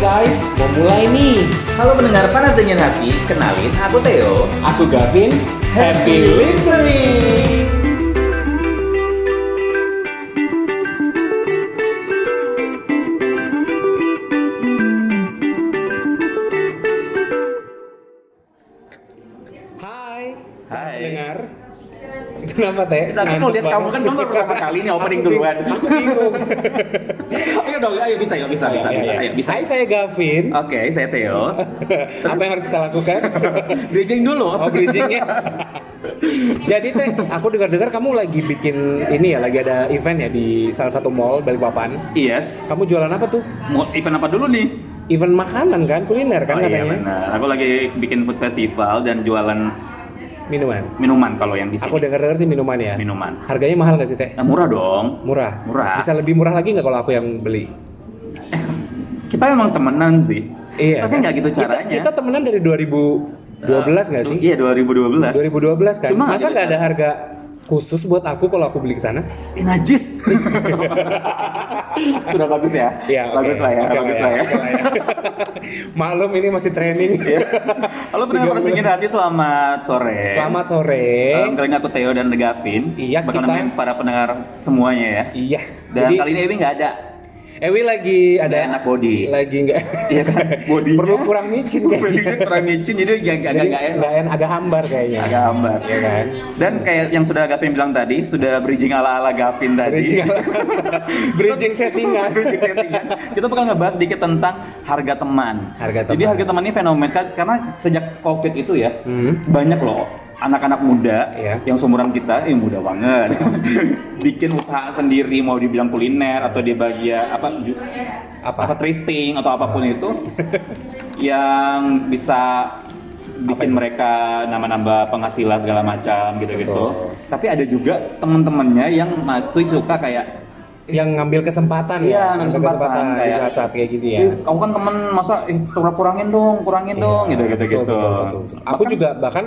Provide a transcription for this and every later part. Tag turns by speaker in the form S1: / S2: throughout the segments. S1: guys, mau mulai nih.
S2: Halo pendengar Panas Dingin Hati, kenalin aku Theo.
S1: Aku Gavin. Happy listening. Hai.
S2: Hai.
S1: Dengar. Kenapa teh?
S2: Tadi mau lihat kamu kan kamu baru pertama kali nih opening duluan.
S1: Aku bingung. Iya,
S2: Ayo dong, ayo bisa, ayo bisa, bisa, Oh. bisa, ayo bisa.
S1: Hai, saya Gavin.
S2: Oke, saya Theo.
S1: Apa yang harus kita lakukan?
S2: Bridging dulu.
S1: Oh bridgingnya. Jadi teh, aku dengar-dengar kamu lagi bikin ini ya, lagi ada event ya di salah satu mall Balikpapan.
S2: Yes.
S1: Kamu jualan apa tuh?
S2: Mau event apa dulu nih?
S1: Event makanan kan, kuliner kan
S2: oh iya
S1: katanya.
S2: benar. Aku lagi bikin food festival dan jualan
S1: minuman.
S2: minuman kalau yang di sini.
S1: Aku dengar-dengar sih minuman ya.
S2: Minuman.
S1: Harganya mahal nggak sih teh?
S2: Nah, murah dong.
S1: Murah.
S2: Murah.
S1: Bisa lebih murah lagi nggak kalau aku yang beli?
S2: Kita emang temenan sih.
S1: Iya.
S2: Tapi
S1: kan?
S2: nggak gitu
S1: Kita-
S2: caranya.
S1: Kita, temenan dari 2012 nggak sih?
S2: Iya,
S1: 2012
S2: 2012.
S1: kan.
S2: Cuma nggak
S1: Masa
S2: gitu
S1: nggak ada harga khusus buat aku kalau aku beli ke sana?
S2: Eh, najis. Sudah bagus ya?
S1: Iya, oke.
S2: bagus lah ya,
S1: Oke
S2: bagus lah ya. Iya.
S1: oke Maklum ini masih training.
S2: Halo pendengar Panas Dingin Hati, selamat sore.
S1: Selamat sore.
S2: Dalam kali ini aku Theo dan Gavin.
S1: Iya, kita-
S2: Bakal nemenin para pendengar semuanya ya.
S1: iya.
S2: Dan
S1: Jadi
S2: kali ini Ewi nggak ada.
S1: Ewi lagi ada
S2: Nggak enak body.
S1: lagi enggak.
S2: Iya kan? Bodinya.
S1: Perlu kurang micin
S2: Bodinya
S1: kayaknya.
S2: kurang micin, jadi agak agak
S1: Jadi
S2: nggak enak.
S1: nggak enak, agak hambar kayaknya.
S2: Agak hambar.
S1: Iya kan?
S2: Dan kayak yang sudah Gavin bilang tadi, sudah bridging ala-ala Gavin tadi.
S1: Bridging, bridging settingan.
S2: Bridging settingan. kan? Kita bakal ngebahas sedikit tentang harga teman.
S1: Harga
S2: Jadi
S1: teman.
S2: harga teman ini fenomen kan- karena sejak COVID itu ya
S1: Hmm.
S2: banyak loh anak-anak muda
S1: Iya.
S2: yang seumuran kita, eh muda banget, bikin usaha sendiri mau dibilang kuliner atau di bagian apa ju-
S1: Apa?
S2: apa thrifting atau apapun itu yang bisa bikin mereka nambah-nambah penghasilan segala macam gitu-gitu.
S1: Betul.
S2: Tapi ada juga teman-temannya yang masih suka kayak
S1: Yang ngambil kesempatan
S2: Iya,
S1: ya.
S2: ngambil kesempatan,
S1: di
S2: kayak-
S1: saat-saat kayak gini ya.
S2: Ih, kamu kan temen masa eh, kur- kurangin dong, kurangin dong gitu gitu
S1: Iya, Betul,
S2: gitu.
S1: betul, betul, betul. Aku
S2: Bahkan
S1: juga bahkan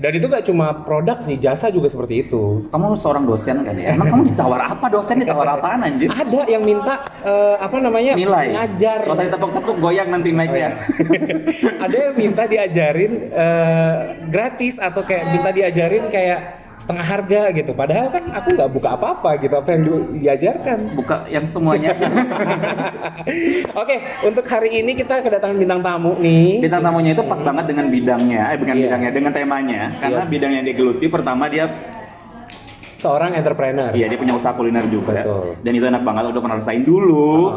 S1: dan itu gak cuma produk sih, jasa juga seperti itu.
S2: kamu seorang dosen kan ya. Emang kamu ditawar apa dosen ditawar apaan anjir?
S1: Ada yang minta eh, apa namanya
S2: Nilai.
S1: ngajar.
S2: Kalau saya tepuk-tepuk goyang
S1: Oh,
S2: nanti mic-nya.
S1: iya. ada yang minta diajarin eh, gratis atau kayak minta diajarin kayak setengah harga gitu padahal kan aku nggak buka apa-apa gitu apa yang di- diajarkan
S2: Buka yang semuanya.
S1: oke untuk hari ini kita kedatangan bintang tamu nih
S2: Bintang tamunya itu pas banget dengan bidangnya, eh bukan
S1: Iya.
S2: bidangnya, dengan temanya. Karena
S1: Iya.
S2: bidang yang digeluti pertama dia
S1: seorang entrepreneur
S2: Iya dia punya usaha kuliner juga
S1: Betul.
S2: dan itu enak banget udah pernah rasain dulu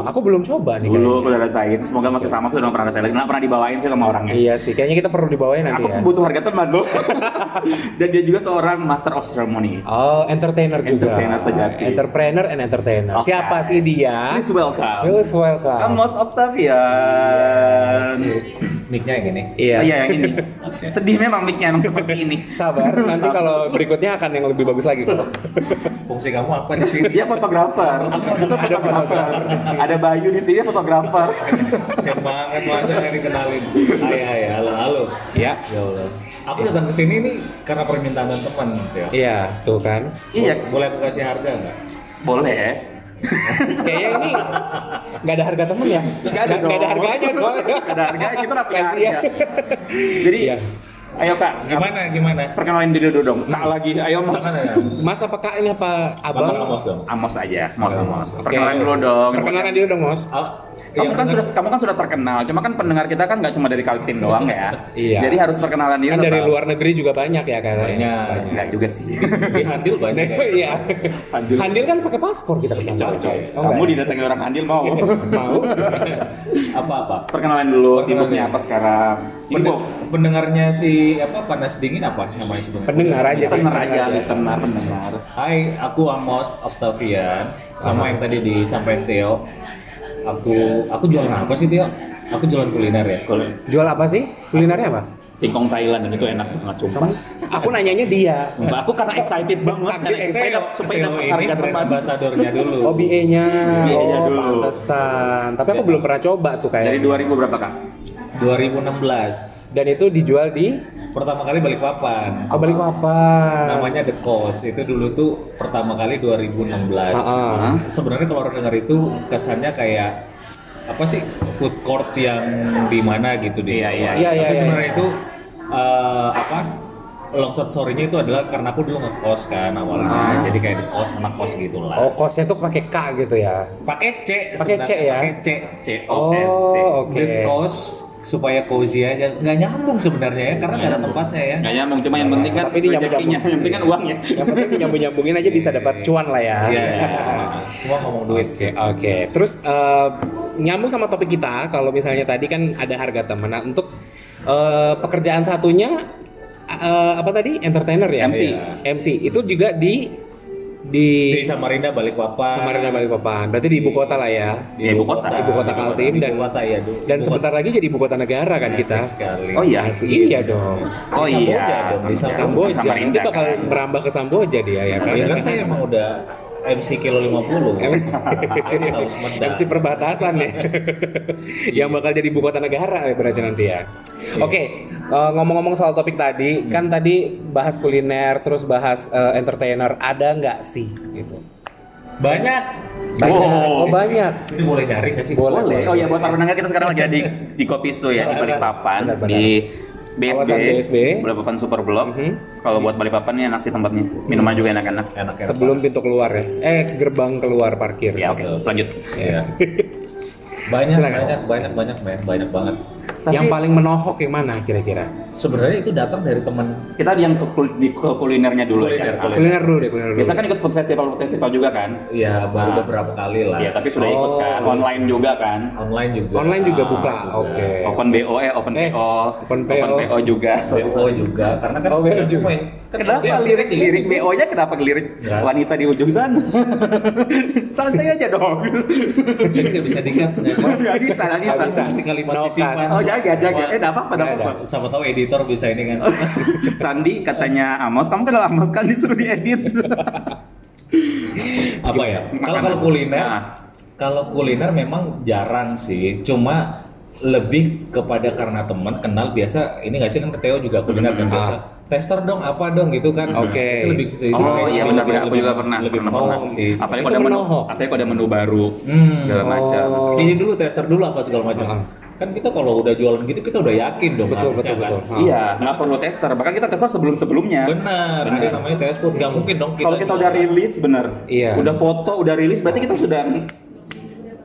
S1: Oh, aku belum coba nih
S2: dulu
S1: kayaknya.
S2: udah rasain semoga masih sama aku udah pernah rasain lagi nggak pernah dibawain sih sama orangnya
S1: iya sih kayaknya kita perlu dibawain nanti
S2: aku
S1: ya
S2: butuh harga teman loh dan dia juga seorang master of ceremony
S1: Oh, entertainer juga.
S2: Entertainer sejati.
S1: Entrepreneur and entertainer.
S2: Oke.
S1: Siapa sih dia?
S2: please welcome
S1: Please welcome.
S2: Amos Octavian
S3: Mic-nya yang ini.
S2: iya
S1: Iya.
S2: yang ini sedih memang mic-nya emang seperti ini
S1: Sabar, nanti kalau berikutnya akan yang lebih bagus lagi kok.
S3: Fungsi kamu apa di sini?
S2: dia fotografer Kita fotografer ada Bayu di sini dia fotografer
S3: Siap banget masa yang dikenalin. Hai hai halo halo.
S1: Ya.
S3: Ya Allah. Aku datang ke sini nih karena permintaan dan teman ya.
S1: Iya, tuh kan.
S2: iya
S3: Boleh aku kasih harga nggak?
S2: boleh
S1: Kayaknya ini nggak ada harga temen ya?
S2: Gak ada, dong.
S1: Nggak ada harganya soalnya.
S2: Gak ada harganya, kita gak punya
S1: Kasian.
S2: harga. Jadi,
S1: Iya.
S2: ayo kak,
S3: Gimana gimana?
S2: perkenalin diri dulu dong. Tak lagi, ayo Mos.
S3: Gimana ya?
S1: Mas apa kak ini apa abang?
S3: Bapak sama dong.
S2: Amos aja, Mos Mos.
S1: Oke.
S2: Perkenalin dulu dong.
S1: Perkenalkan diri dong, Mos.
S3: Al-
S2: Kamu
S3: iya,
S2: kan
S3: bener.
S2: sudah kamu kan sudah terkenal, cuma kan pendengar kita kan nggak cuma dari Kaltim doang ya.
S1: Iya.
S2: Jadi harus perkenalan diri.
S1: Kan dari
S2: tetap.
S1: luar negeri juga banyak ya kayaknya.
S3: Banyak.
S2: Nggak juga sih.
S3: di handil banyak. ya.
S1: Iya.
S2: Handil.
S1: Handil kan pakai paspor kita kesana.
S3: Coy, coy.
S1: Oh,
S2: kamu
S1: nggak ya?
S2: didatangi orang Andil mau.
S1: mau?
S3: Apa-apa.
S2: perkenalan dulu,
S3: Perkenalan
S2: sibuknya
S3: dulu.
S2: apa sekarang? Sibuk.
S3: Pende- pendengarnya si apa panas dingin apa namanya sebenarnya?
S1: Pendengar aja sih.
S2: Listener aja,
S1: pendengar aja.
S2: listener, pendengar.
S3: Hai, aku Amos Octavian. Sama yang tadi disampaikan Theo. Aku aku jualan apa sih Theo? Aku jualan kuliner ya.
S2: Kul-
S1: Jual apa sih? Kulinernya apa?
S2: Singkong Thailand dan itu enak banget, sumpah.
S1: Aku nanyanya dia.
S2: Sumpah, aku karena excited banget karena supaya dapat supaya dapat harga teman.
S3: ambasadornya dulu.
S1: Oh, BA-nya.
S2: BA-nya
S1: Oh,
S2: dulu.
S1: pantesan. Tapi aku belum pernah coba tuh
S2: Dari
S1: kayaknya.
S2: 2000 berapa kak?
S3: 2016.
S1: Dan itu dijual di
S3: Pertama kali balik papan.
S1: Oh, Balikpapan.
S3: Namanya The Cost. Itu dulu tuh pertama kali 2016.
S1: Ah, ah.
S3: Sebenarnya kalau orang dengar itu kesannya kayak apa sih food court yang di mana gitu deh.
S2: Iya,
S1: Iya,
S2: iya.
S1: iya,
S3: Tapi
S1: iya,
S3: sebenarnya
S1: iya.
S3: itu eh, apa? Long short story-nya itu adalah karena aku dulu ngekos kan awalnya. Jadi kayak di kos anak kos gitu lah.
S1: Ah. Oh, kosnya tuh pakai K gitu ya.
S3: Pakai C
S1: Pakai C
S3: sebenarnya,
S1: ya?
S3: Pakai C.
S2: C O S T.
S1: Oh, oke.
S3: The kos supaya cozy aja. Nggak nyambung sebenarnya ya karena nggak ada tempatnya ya.
S2: Nggak nyambung, cuma yang penting kan
S1: Tapi ini
S2: rezekinya,
S1: nyambung-nyambung.
S2: yang penting kan uangnya.
S1: Yang penting nyambung-nyambungin aja bisa dapat cuan lah ya.
S3: Iya. Semua ngomong duit sih.
S1: Oke, terus eh, nyambung sama topik kita, kalau misalnya tadi kan ada harga teman. Nah, untuk eh, pekerjaan satunya eh, apa tadi? Entertainer ya.
S2: MC.
S1: MC itu juga di di,
S3: Di Samarinda Balikpapan.
S1: Samarinda Balikpapan. Berarti di ibu kota lah ya.
S2: Ya, ibu kota.
S1: Ibu kota Kaltim
S3: Di
S1: dan-
S3: ibu kota ya Du.
S1: Dan
S3: Ibu
S1: sebentar lagi jadi ibu kota negara kan
S3: kota
S1: kita.
S3: asik sekali.
S2: Oh iya.
S1: Asik, iya dong.
S2: Oh
S3: Di Samboja
S2: iya,
S3: dong, di
S2: Samboja.
S1: Samboja,
S2: Samarinda
S1: nanti bakal
S2: kan.
S1: merambah ke Samboja dia ya kan.
S3: Ya kan saya emang udah MC kilo 50. Saya tahu Sumedang.
S1: MC Kan? perbatasan ya. yang bakal jadi ibu kota negara ya berarti nanti ya. Oke, eh, ngomong-ngomong soal topik tadi, kan tadi bahas kuliner, terus bahas eh, entertainer, ada nggak sih gitu?
S3: Banyak.
S1: Banyak,
S2: Wow.
S1: oh banyak.
S3: Ini boleh nyari nggak sih?
S1: Boleh.
S2: Boleh. Oh iya buat para pendengar kita sekarang lagi ada di di Kopi Su ya di Balikpapan
S1: Benar-benar.
S2: di BSB,
S1: Kawasan BSB.
S2: Balikpapan Super Blok.
S1: Mhm.
S2: Kalau buat Balikpapan nih enak sih tempatnya. Minuman juga enak-enak.
S3: Enak ya.
S1: Sebelum pintu keluar ya, eh gerbang keluar parkir.
S2: Ya oke, lanjut.
S3: Iya. Banyak,
S1: Silakan.
S3: banyak, banyak, banyak, men, banyak banget.
S1: Yang paling menohok yang mana kira-kira?
S3: Sebenarnya itu datang dari teman
S2: Kita di yang ke, kul- di ke kulinernya dulu
S3: Kuliner,
S2: ya.
S3: kuliner.
S1: Kuliner dulu deh, kuliner dulu.
S2: Biasa kan ikut food festival food festival juga kan? Nah.
S3: ya baru beberapa kali lah.
S2: Iya, tapi sudah ikut
S1: Oh.
S2: kan. Online juga kan.
S3: Online juga.
S1: Online juga
S3: Ah,
S1: buka,
S3: juga.
S1: oke.
S2: Open BO eh open
S1: Eh,
S2: PO.
S1: open PO.
S2: juga.
S3: BO juga karena kan
S1: Oh, BO
S2: iya
S1: juga.
S3: main- kan
S2: Kenapa
S3: main-
S2: lirik
S3: main-
S2: lirik BO-nya kenapa lirik
S3: Nggak.
S2: wanita di ujung sana? Santai aja dong.
S3: Jadi nggak bisa dikat.
S2: Gak bisa, gak bisa.
S1: Nggak bisa.
S3: Bisa kalimat
S1: No
S3: sisipan.
S2: Oh, jangan, jangan. Eh, Oh.
S3: Wah,
S2: enggak apa-apa, enggak
S3: nggak
S2: apa-apa.
S3: ada. Siapa tahu editor bisa ini kan.
S2: Sandi katanya Amos, kamu kenal Amos kan disuruh diedit.
S3: apa ya? Kalau kalau kuliner,
S2: Nah.
S3: kalau kuliner memang jarang sih. Cuma lebih kepada karena teman kenal biasa. Ini nggak sih kan ke Theo juga kuliner kan
S2: Hmm,
S3: biasa. Tester dong apa dong gitu kan.
S1: Oke.
S3: Itu lebih ke situ. Itu
S2: oh
S3: kayak
S2: iya
S3: lebih-
S2: benar-benar aku
S3: lebih-
S2: juga pernah.
S3: Lebih
S2: pernah,
S3: menolak
S2: pernah.
S3: sih.
S2: Apalagi
S1: Itu
S2: kalau ada menu,
S1: menohok.
S2: apalagi kalau ada menu baru
S3: Hmm.
S2: segala macam.
S1: Oh.
S3: Ini dulu tester dulu apa segala macam.
S1: Ah.
S3: Kan kita kalau udah jualan gitu kita udah yakin dong.
S1: Betul,
S3: harusnya
S1: betul,
S3: kan.
S1: betul. Ah.
S2: Iya, nggak perlu tester. Bahkan kita tester sebelum-sebelumnya.
S3: Benar, ada
S2: Benar.
S3: namanya test food. Gak mungkin dong kita.
S2: Kalau kita udah
S3: jualan.
S2: rilis, bener.
S1: Iya.
S2: Udah foto, udah rilis, berarti kita sudah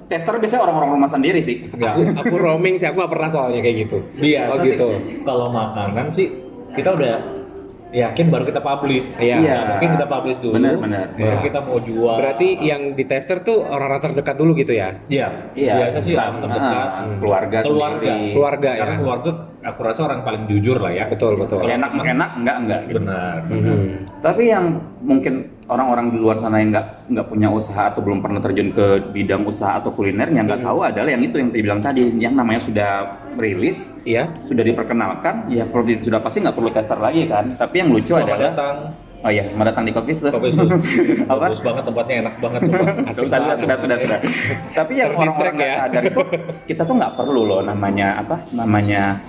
S2: tester biasanya orang-orang rumah sendiri sih.
S1: Nggak, aku roaming sih, aku nggak pernah soalnya kayak gitu.
S3: Iya,
S1: Oh
S3: tapi
S1: gitu.
S3: Kalau makanan sih kita udah yakin baru kita publish.
S1: Iya.
S3: Nah, Mungkin kita publish dulu.
S2: Benar, benar.
S3: Baru
S1: Iya.
S3: kita mau jual.
S1: Berarti yang di tester tuh orang-orang terdekat dulu gitu ya?
S3: Iya.
S2: Iya.
S3: Biasa sih
S2: Nah,
S3: yang terdekat.
S2: ah, keluarga
S3: Keluarga.
S2: sendiri.
S1: Keluarga
S3: Karena
S1: ya?
S3: keluarga aku rasa orang paling jujur lah ya.
S1: Betul, betul.
S2: Kalau enak, enak, enggak, enggak. gitu.
S3: Benar.
S1: Mhm.
S2: Tapi yang mungkin orang-orang di luar sana yang nggak nggak punya usaha atau belum pernah terjun ke bidang usaha atau kuliner yang
S3: Hmm.
S2: nggak tahu adalah yang itu yang dibilang tadi yang namanya sudah rilis
S1: Iya.
S2: sudah diperkenalkan ya produk itu sudah pasti nggak perlu tester lagi kan tapi yang lucu
S3: Selamat
S2: adalah
S3: datang.
S2: oh iya selamat datang di kopi Sus.
S3: Kopi Sus.
S2: apa
S3: Bagus banget tempatnya enak banget sumpah.
S2: sudah, sudah, sudah, sudah, sudah. Tapi yang
S1: Terdistract
S2: orang-orang nggak
S1: ya.
S2: sadar itu kita tuh nggak perlu loh namanya apa namanya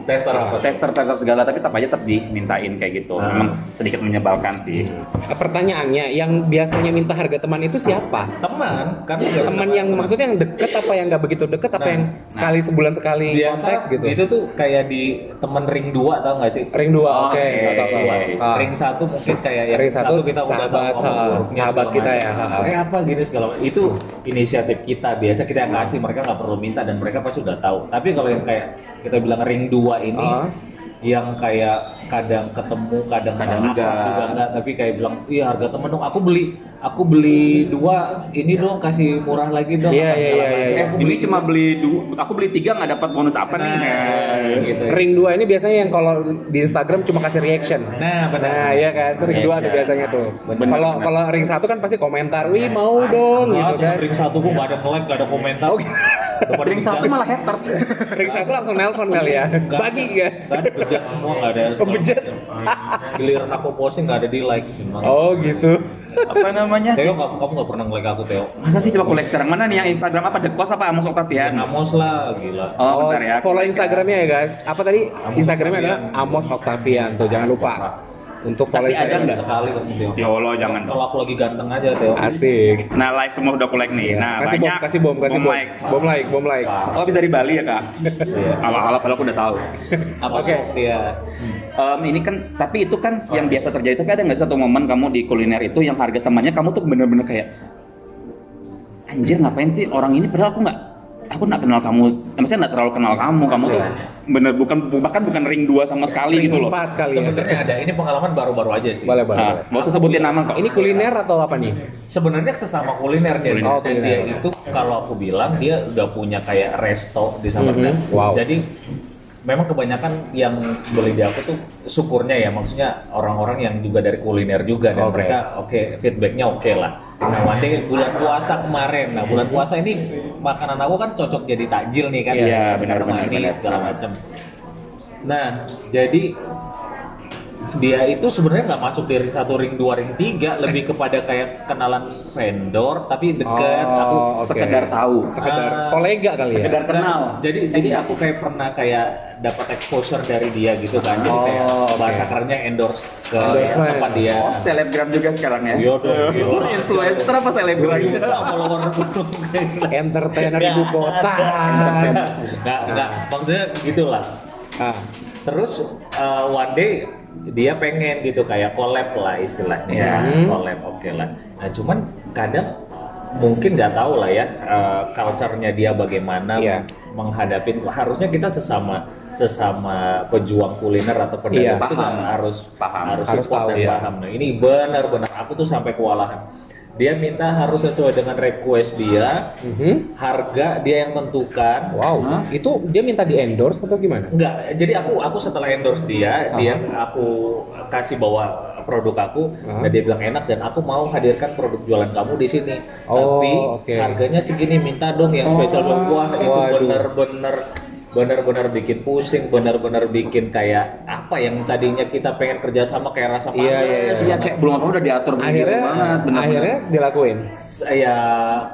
S3: Tester apa? sih?
S2: tester tester segala tapi tetap aja tetap dimintain kayak gitu.
S3: Ah. Hmm.
S2: Memang sedikit menyebalkan sih.
S1: Eh, Pertanyaannya, yang biasanya minta harga teman itu siapa?
S3: Teman kan biasa
S1: Teman yang maksudnya yang deket apa yang nggak begitu deket apa
S3: Nah,
S1: yang sekali sebulan sekali
S3: biasa
S1: kontak
S3: gitu.
S1: gitu?
S3: Itu tuh kayak di temen ring 2 tau gak sih?
S1: Ring dua,
S2: Oh,
S1: oke.
S2: oke.
S1: nggak apa-apa. Ah.
S3: iya, ring satu mungkin kayak yang
S1: Ring satu,
S3: kita udah
S1: sahabat,
S3: tahu
S1: ha,
S3: worknya
S1: sahabat
S3: segala
S1: kita
S3: macam.
S1: ya, ha, ha.
S3: Eh apa gini segala macam. Itu inisiatif kita biasa kita yang kasih mereka nggak perlu minta dan mereka pasti udah tahu. Tapi kalau yang kayak kita bilang ring dua ini
S1: Ah.
S3: yang kayak kadang ketemu
S2: Kadang
S3: kadang nggak akrab
S2: enggak.
S3: juga enggak tapi kayak bilang iya harga temen dong aku beli aku beli dua ini dong kasih murah lagi dong
S1: Iya,
S3: apa
S1: iya,
S3: segala
S1: iya, iya.
S3: macam.
S2: Eh,
S3: Aku
S2: ini
S3: beli
S2: cuma beli dua, aku beli tiga nggak dapat bonus apa nih?
S3: Nah, gitu.
S1: Ring dua ini biasanya yang kalau di Instagram cuma kasih reaction.
S3: Nah, benar.
S1: Nah, iya kan. Itu ring dua tuh
S2: Reaction.
S1: biasanya tuh.
S2: Benar,
S1: Kalau
S2: benar.
S1: kalau ring satu kan pasti komentar, "Wih, mau dong."
S3: Nah,
S1: gitu kan. Oh,
S3: Ring satu kok nggak ada like, nggak ada komentar.
S1: Oke.
S3: Udah pada
S2: Ring satu
S3: bejat.
S2: malah haters.
S1: Ring satu langsung nelpon kali ya.
S3: Nggak ada.
S1: Bagi ya.
S3: Nggak ada bejat kan? semua nggak ada.
S1: Oh, bejat.
S3: Giliran aku posting nggak ada di like sih. Oh.
S1: Oh, gitu.
S2: apa namanya?
S3: Teo kamu kamu nggak pernah nge-like aku Teo.
S2: Masa sih coba aku lecture mana nih yang Instagram apa The Kos apa Amos Octavian?
S3: Amos lah gila.
S2: Oh,
S1: Oh,
S2: bentar ya.
S1: follow Instagramnya ya guys. Apa tadi? Instagramnya adalah Amos Octavian. Tuh jangan lupa. untuk
S2: Tapi
S1: follow Instagram
S2: ada
S1: nggak?
S3: sekali kok Tio.
S2: Ya Allah jangan dong.
S3: Kalau aku lagi ganteng aja Tio.
S1: Asik.
S2: Nah like semua udah aku like nih. Nah
S1: Iya, kasih bom,
S2: banyak.
S1: kasih bom, kasih bom.
S2: like.
S1: Bom like, bom like.
S2: Oh habis dari Bali ya kak?
S3: Iya.
S2: Alah-alah padahal aku udah tahu.
S3: Apa
S1: Oke.
S3: tuh, Tia?
S2: Em, ini kan tapi itu kan yang biasa terjadi. Tapi ada nggak satu momen kamu di kuliner itu yang harga temannya kamu tuh bener-bener kayak anjir ngapain sih orang ini padahal aku nggak aku nggak kenal kamu Ya, maksudnya nggak terlalu kenal kamu kamu tuh bener bukan bahkan bukan ring dua sama sekali gitu loh
S1: Iya. Empat kali ya.
S3: Sebenarnya ada. Ini pengalaman baru-baru aja sih.
S1: Boleh, boleh.
S2: nah,
S1: boleh.
S2: nggak usah sebutin nama kok
S1: Ini kuliner atau apa nih?
S3: Sebenarnya sesama kuliner dia.
S1: Kuliner. Oh,
S3: Dan
S1: kuliner.
S3: dia itu kalau aku bilang dia udah punya kayak resto di Summerland.
S1: Mhm. Wow.
S3: Jadi memang kebanyakan yang beli di aku tuh syukurnya ya maksudnya orang-orang yang juga dari kuliner juga dan
S1: Oke.
S3: mereka oke feedbacknya oke lah. Nah, one day bulan puasa kemarin. Nah, bulan puasa ini makanan aku kan cocok jadi takjil nih kan.
S2: Iya,
S3: ya,
S2: benar, benar, benar.
S3: segala macam. Nah, jadi dia itu sebenarnya nggak masuk di ring satu, ring dua, ring tiga, lebih kepada kayak kenalan vendor, tapi deket. aku
S1: Oh, oke.
S2: sekedar tahu
S1: Sekedar
S3: Ah,
S1: kolega kali
S2: sekedar
S1: ya.
S2: kenal
S3: jadi jadi aku kayak pernah kayak dapat exposure dari dia gitu kan. Jadi
S1: Oh,
S3: kayak
S1: oke.
S3: bahasa kerennya endorse ke
S1: Endorsement.
S3: tempat dia.
S2: oh selebgram juga sekarang ya
S3: Iya dong, gila.
S2: influencer apa selebgram
S1: Iya.
S3: Gila, follower
S1: Entertainer ibu kota.
S3: Nggak, nggak. Maksudnya gitulah.
S1: Ah,
S3: Terus uh, one day dia pengen gitu kayak collab lah istilahnya, ya,
S1: Hmm.
S3: collab oke lah. Nah cuman kadang mungkin nggak tahu lah ya uh, culture-nya dia bagaimana
S1: Iya.
S3: menghadapi. Harusnya kita sesama sesama pejuang kuliner atau pedagang
S1: Iya.
S3: itu
S2: Paham.
S3: kan harus
S2: Paham.
S3: harus
S1: Harus
S3: support
S1: tahu,
S3: dan
S1: iya.
S3: paham. Nah ini benar-benar aku tuh sampai kewalahan. Dia minta harus sesuai dengan request dia,
S1: mhm.
S3: harga dia yang tentukan,
S1: Wow, itu dia minta di endorse atau gimana?
S3: Enggak, jadi aku aku setelah endorse dia, dia aku kasih bawa produk aku,
S1: Aha.
S3: dan dia bilang enak dan aku mau hadirkan produk jualan kamu di sini.
S1: Oh,
S3: Tapi
S1: oke. Oh,
S3: harganya segini, minta dong yang spesial dong. Wah, itu
S1: Waduh.
S3: bener-bener benar-benar bikin pusing, benar-benar bikin kayak apa yang tadinya kita pengen kerjasama kayak rasa
S1: Iya, iya, iya.
S2: Iya kayak belum apa udah diatur begitu
S1: Akhirnya,
S2: Iya, banget benar-benar.
S1: akhirnya dilakuin.
S3: ya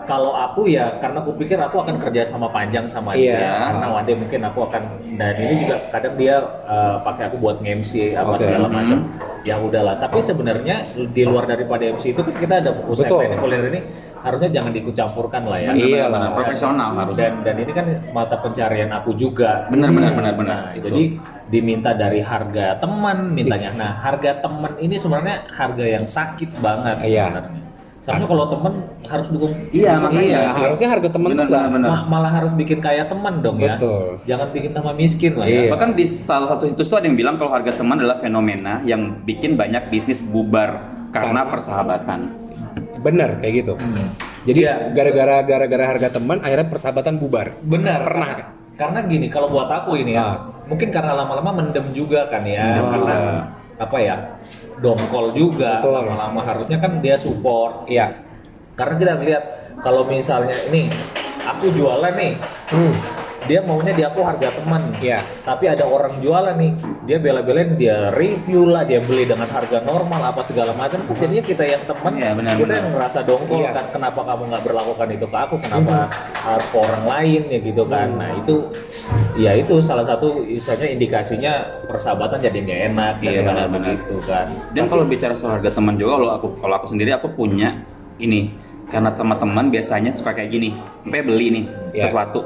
S3: kalau aku ya karena aku pikir aku akan kerja sama panjang sama
S1: Iya.
S3: dia karena one day mungkin aku akan dan ini juga kadang dia eh, pakai aku buat MC apa
S1: Oke. Mm-hmm.
S3: segala macam ya udahlah tapi sebenarnya di luar daripada MC itu kan kita ada usaha
S1: Betul.
S3: ini kuliner ini harusnya jangan diikut campurkan lah
S1: Iya
S3: ya
S2: Benar-benar
S1: lah.
S2: Nah, profesional harus.
S3: dan dan ini kan mata pencarian aku juga
S2: Benar-benar benar-benar.
S3: Nah, jadi diminta dari harga teman mintanya.
S1: Is.
S3: Nah, harga teman ini sebenarnya harga yang sakit banget
S1: Iya.
S3: sebenarnya. Seharusnya kalau teman harus dukung
S2: Iya makanya.
S1: Iya, harusnya harga temen tuh
S2: Benar-benar.
S1: Bang.
S2: benar.
S3: Ma- malah harus bikin kaya teman dong ya.
S1: Betul.
S3: Jangan bikin tambah miskin lah
S1: Iya.
S3: ya.
S2: Bahkan di salah satu situs tuh ada yang bilang kalau harga teman adalah fenomena yang bikin banyak bisnis bubar
S1: Karena-
S2: karena persahabatan.
S1: Bener kayak gitu. Jadi
S3: Iya.
S1: gara-gara gara-gara harga teman akhirnya persahabatan bubar.
S3: Benar.
S1: Pernah.
S3: Karena, karena gini, kalau buat aku ini ya,
S1: Ah. Iya.
S3: mungkin karena lama-lama mendem juga kan ya,
S1: Betul.
S3: karena apa ya, dongkol juga
S1: Betul.
S3: lama-lama harusnya kan dia support
S1: Iya.
S3: Karena kita lihat kalau misalnya ini aku jualan nih,
S1: Hmm.
S3: dia maunya di aku harga teman.
S1: Iya.
S3: Tapi ada orang jualan nih, dia bela-belain dia review lah, dia beli dengan harga normal apa segala macam. Kan jadinya kita yang teman,
S2: Iya, benar,
S3: kita
S2: benar.
S3: yang merasa dongkol
S1: Iya.
S3: kan kenapa kamu nggak berlakukan itu ke aku, kenapa
S2: Hmm.
S3: uh, ke orang lain ya gitu kan. Nah itu, ya itu salah satu misalnya indikasinya persahabatan jadi nggak enak
S2: Iya,
S3: ya
S2: benar, benar.
S3: gitu kan.
S2: Dan kalau bicara soal harga teman juga kalau aku kalau aku sendiri aku punya ini karena teman-teman biasanya suka kayak gini, sampai beli nih
S1: Iya.
S2: sesuatu.